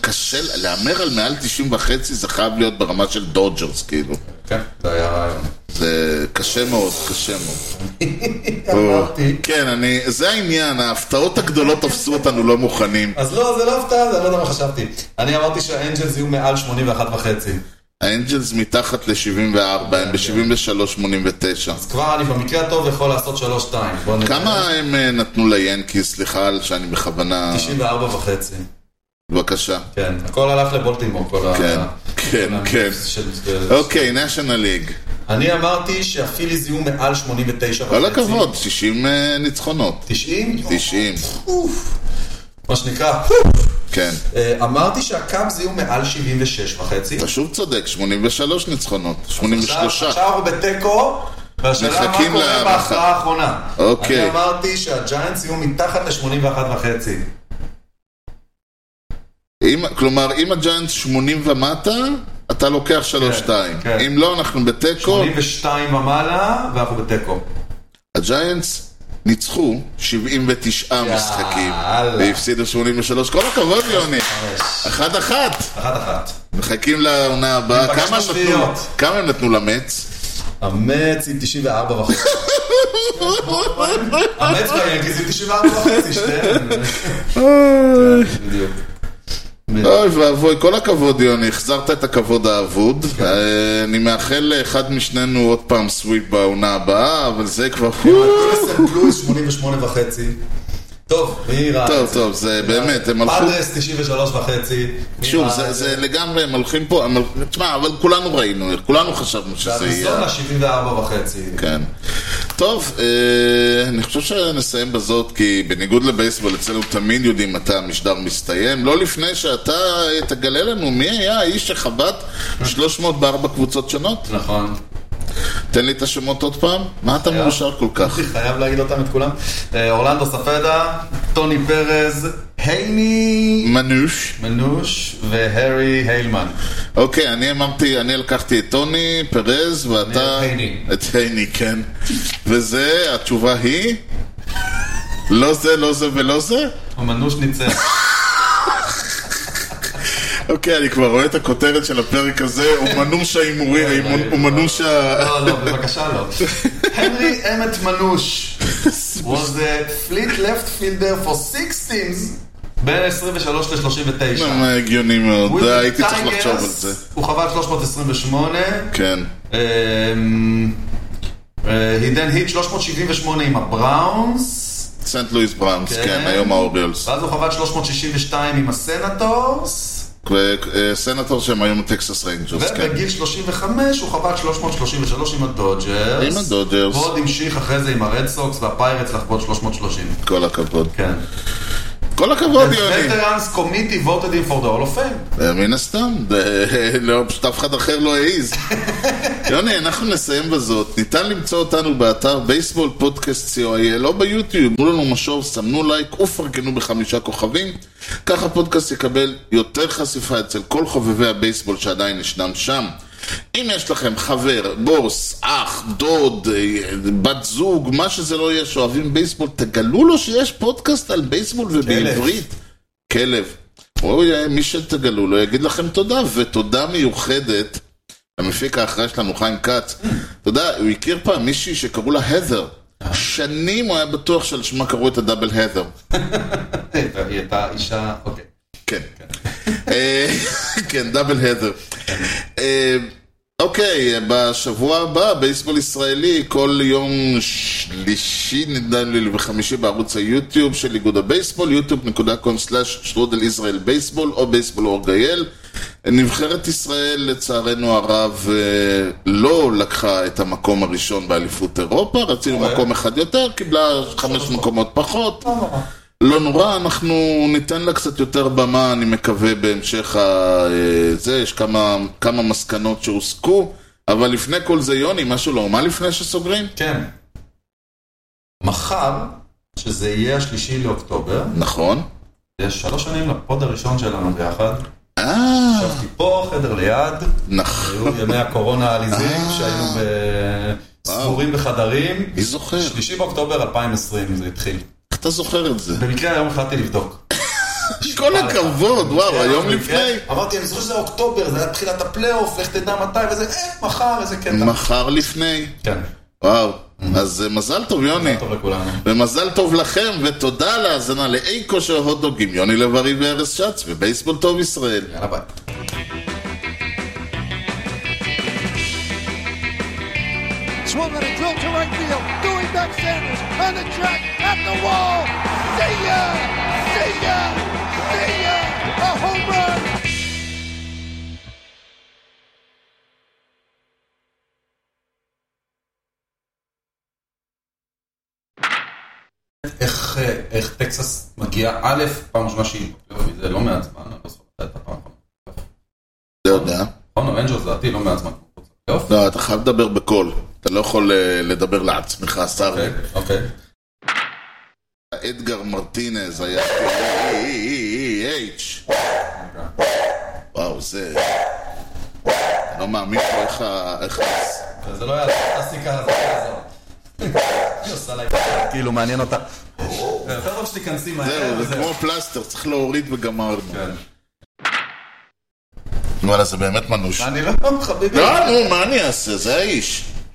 A: קשה, ל- להמר על מעל 90 וחצי זה חייב להיות ברמה של דודג'רס, כאילו.
B: כן, זה היה רעיון.
A: זה קשה מאוד, קשה מאוד.
B: אמרתי.
A: כן, אני... זה העניין, ההפתעות הגדולות תפסו אותנו לא מוכנים.
B: אז לא, זה לא הפתעה, זה לא יודע מה חשבתי. אני אמרתי שהאנג'לס יהיו מעל 81 וחצי.
A: האנג'לס מתחת ל-74, הם ב-73-89.
B: אז כבר אני במקרה הטוב יכול לעשות 3-2. בוא נראה.
A: כמה הם אה, נתנו ליאנקיס? סליחה על שאני בכוונה...
B: 94 וחצי.
A: בבקשה.
B: כן, הכל הלך לבולטימור, כל ה...
A: כן, כן,
B: כל ה-
A: כן.
B: של-
A: אוקיי, national league.
B: אני אמרתי שהפיליז יהיו מעל 89 וחצי.
A: כל הכבוד, 60 אה, ניצחונות.
B: 90?
A: 90,
B: אוף. מה שנקרא,
A: כן.
B: אה, אמרתי שהקאבס יהיו מעל 76 וחצי.
A: אתה שוב צודק, 83 ניצחונות, 83.
B: עכשיו- עכשיו אנחנו בתיקו, והשאלה מה
A: מחכים
B: קורה
A: להערכה.
B: בהכרעה האחרונה.
A: אוקיי.
B: אני אמרתי שהג'יינטס יהיו מתחת ל-81 וחצי.
A: אם, כלומר, אם הג'יינטס 80 ומטה, אתה לוקח 3-2.
B: כן.
A: אם לא, אנחנו בתיקו.
B: 82 ומעלה, ואנחנו בתיקו.
A: הג'יינטס ניצחו 79 משחקים,
B: יאללה.
A: והפסידו 83. כל הכבוד, יוני. אחת-אחת.
B: אחת אחת. מחכים.
A: מחכים לעונה הבאה.
B: ניפגש
A: כמה הם נתנו-
B: בשביעיות.
A: כמה הם נתנו למץ?
B: המץ היא 94 וחצי. המץ והיאנקיז זה 94 וחצי, שתיהם. בדיוק.
A: אוי ואבוי, כל הכבוד יוני, החזרת את הכבוד האבוד.
B: כן.
A: אה, אני מאחל לאחד משנינו עוד פעם סוויפ בעונה הבאה, אבל זה כבר...
B: סנט לואיס 88 וחצי. טוב, מי ראה?
A: טוב, טוב, זה באמת, הם הלכו...
B: אדרס 93 וחצי. מי
A: שוב,
B: ראה?
A: זה- זה לגמרי, הם הולכים פה, הם הולכים- תשמע, אבל כולנו ראינו, כולנו חשבנו שזה יהיה.
B: באריזונה 74 וחצי.
A: כן. טוב, אה, אני חושב שנסיים בזאת, כי בניגוד לבייסבול, אצלנו תמיד יודעים מתי המשדר מסתיים. לא לפני שאתה אה, תגלה לנו מי היה האיש שחבט 300 בארבע קבוצות שונות.
B: נכון.
A: תן לי את השמות עוד פעם. מה אתה מאושר כל כך?
B: חייב להגיד אותם את כולם. אה, אורלנדו ספדה, טוני פרז, הייני
A: מנוש.
B: מנוש והרי היילמן.
A: אוקיי, אני אמרתי, אני לקחתי את טוני, פרז, ואתה...
B: את הייני.
A: את הייני, כן. וזה, התשובה היא? לא זה, לא זה ולא זה?
B: המנוש ניצח.
A: אוקיי, אני כבר רואה את הכותרת של הפרק הזה, אומנוש ההימורים, האימון- אומנוש ה...
B: לא, לא, בבקשה לא. הנרי אמט מנוש was the fleet left fielder for six teams בין 23 ל-39.
A: אה, הגיוני מאוד, אה, הייתי צריך לחשוב על זה.
B: הוא חבט 328.
A: כן.
B: אמ, אה, he then hit 378 עם הבראונס,
A: סנט לואיס בראונס,
B: כן.
A: כן, היום האוריולס.
B: ואז הוא חבט 362 עם הסנטורס,
A: אה, סנטור שהם היום טקסס ריינג'רס, כן.
B: ובגיל 35 הוא חבט 333 עם הדודג'רס.
A: עם הדודג'רס.
B: ועוד המשיך אחרי זה עם הרד סוקס והפיירטס לחבוט 330.
A: כל הכבוד.
B: כן.
A: כל הכבוד, יוני.
B: וטרנס קומיטי voted in for the hall of fame.
A: אה, מן הסתם, זה- לא, פשוט אף אחד אחר לא העז. יוני, אנחנו נסיים בזאת. ניתן למצוא אותנו באתר בייסבול פודקאסט co.il או ביוטיוב. תנו לנו משוב, סמנו לייק ופרגנו בחמישה כוכבים. כך הפודקאסט יקבל יותר חשיפה אצל כל חובבי הבייסבול שעדיין ישנם שם. אם יש לכם חבר, בוס, אח, דוד, אה, בת זוג, מה שזה לא יהיה, שאוהבים בייסבול, תגלו לו שיש פודקאסט על בייסבול ובעברית. כלב. או אה, מי שתגלו לו יגיד לכם תודה, ותודה מיוחדת למפיק האחראי שלנו, חיים כץ. אתה יודע, הוא הכיר פעם מישהי שקראו לה האת'ר. שנים הוא היה בטוח שעל שמה קראו את הדאבל האת'ר.
B: והיא הייתה אישה, אוקיי.
A: כן. אה, כן, דאבל האת'ר. אה, אוקיי, בשבוע הבא, בייסבול ישראלי, כל יום שלישי, נדמה לי, וחמישי בערוץ היוטיוב של איגוד הבייסבול, yוטיוב.com/שטרודל ישראל בייסבול, או בייסבול אור גייל. נבחרת ישראל, לצערנו הרב, אה, לא לקחה את המקום הראשון באליפות אירופה, רצינו מקום אחד יותר, קיבלה חמש מקומות פחות. לא נורא, אנחנו ניתן לה קצת יותר במה, אני מקווה, בהמשך ה... אה, זה, יש כמה, כמה מסקנות שהוסקו, אבל לפני כל זה, יוני, משהו לא, מה לפני שסוגרים?
B: כן. מחר, שזה יהיה השלישי לאוקטובר,
A: נכון.
B: יש שלוש שנים לפוד הראשון שלנו ביחד.
A: אה,
B: ישבתי פה, חדר ליד.
A: נכון.
B: היו ימי הקורונה העליזים
A: אה.
B: שהיו ב- סגורים בחדרים.
A: מי זוכר?
B: שלישי באוקטובר 2020 זה התחיל.
A: איך אתה זוכר את זה?
B: במקרה היום החלטתי לבדוק.
A: כל הכבוד, וואו, היום
B: במקרה,
A: לפני.
B: אמרתי, אני זוכר שזה אוקטובר, זה היה תחילת הפלייאוף, לך תדע מתי, וזה, אה, מחר, איזה קטע.
A: מחר לפני.
B: כן,
A: וואו. אז אה, מזל טוב, יוני.
B: טוב לכולנו.
A: ומזל טוב לכם, ותודה על ההאזנה לאי כושר הוטדוגים, יוני לב-ארי וארז שץ, ובייסבול טוב ישראל.
B: יאללה ביי.
D: Swung on a drill to right field. Doing back Sanders on the track at the wall. See ya! See ya! See ya! A home run!
B: איך, אה, איך טקסס מגיעה, א', פעם ראשונה שהיא, בפלייאוף, זה לא מעט זמן, אני לא זוכר את הפעם האחרונה.
A: אתה יודע.
B: נכון, אבנג'רס לדעתי לא מעט זמן. יופי,
A: לא, אתה חייב לדבר בקול. אתה לא יכול אה, לדבר לעצמך, השר.
B: אוקיי.
A: אדגר מרטינז היה... H. וואו, זה... אני לא מאמין פה איך ה... איך ה-
B: זה לא יעזור, הסיכה הזאת יעזור. היא עושה לה ככה, כאילו מעניין אותה. יותר טוב שתיכנסי מהר.
A: זהו, זה כמו פלסטר, צריך להוריד וגמרנו.
B: כן.
A: וואלה, זה באמת מנוש.
B: אני לא, חביבי. לא,
A: לא, נו, מה אני אעשה? זה האיש.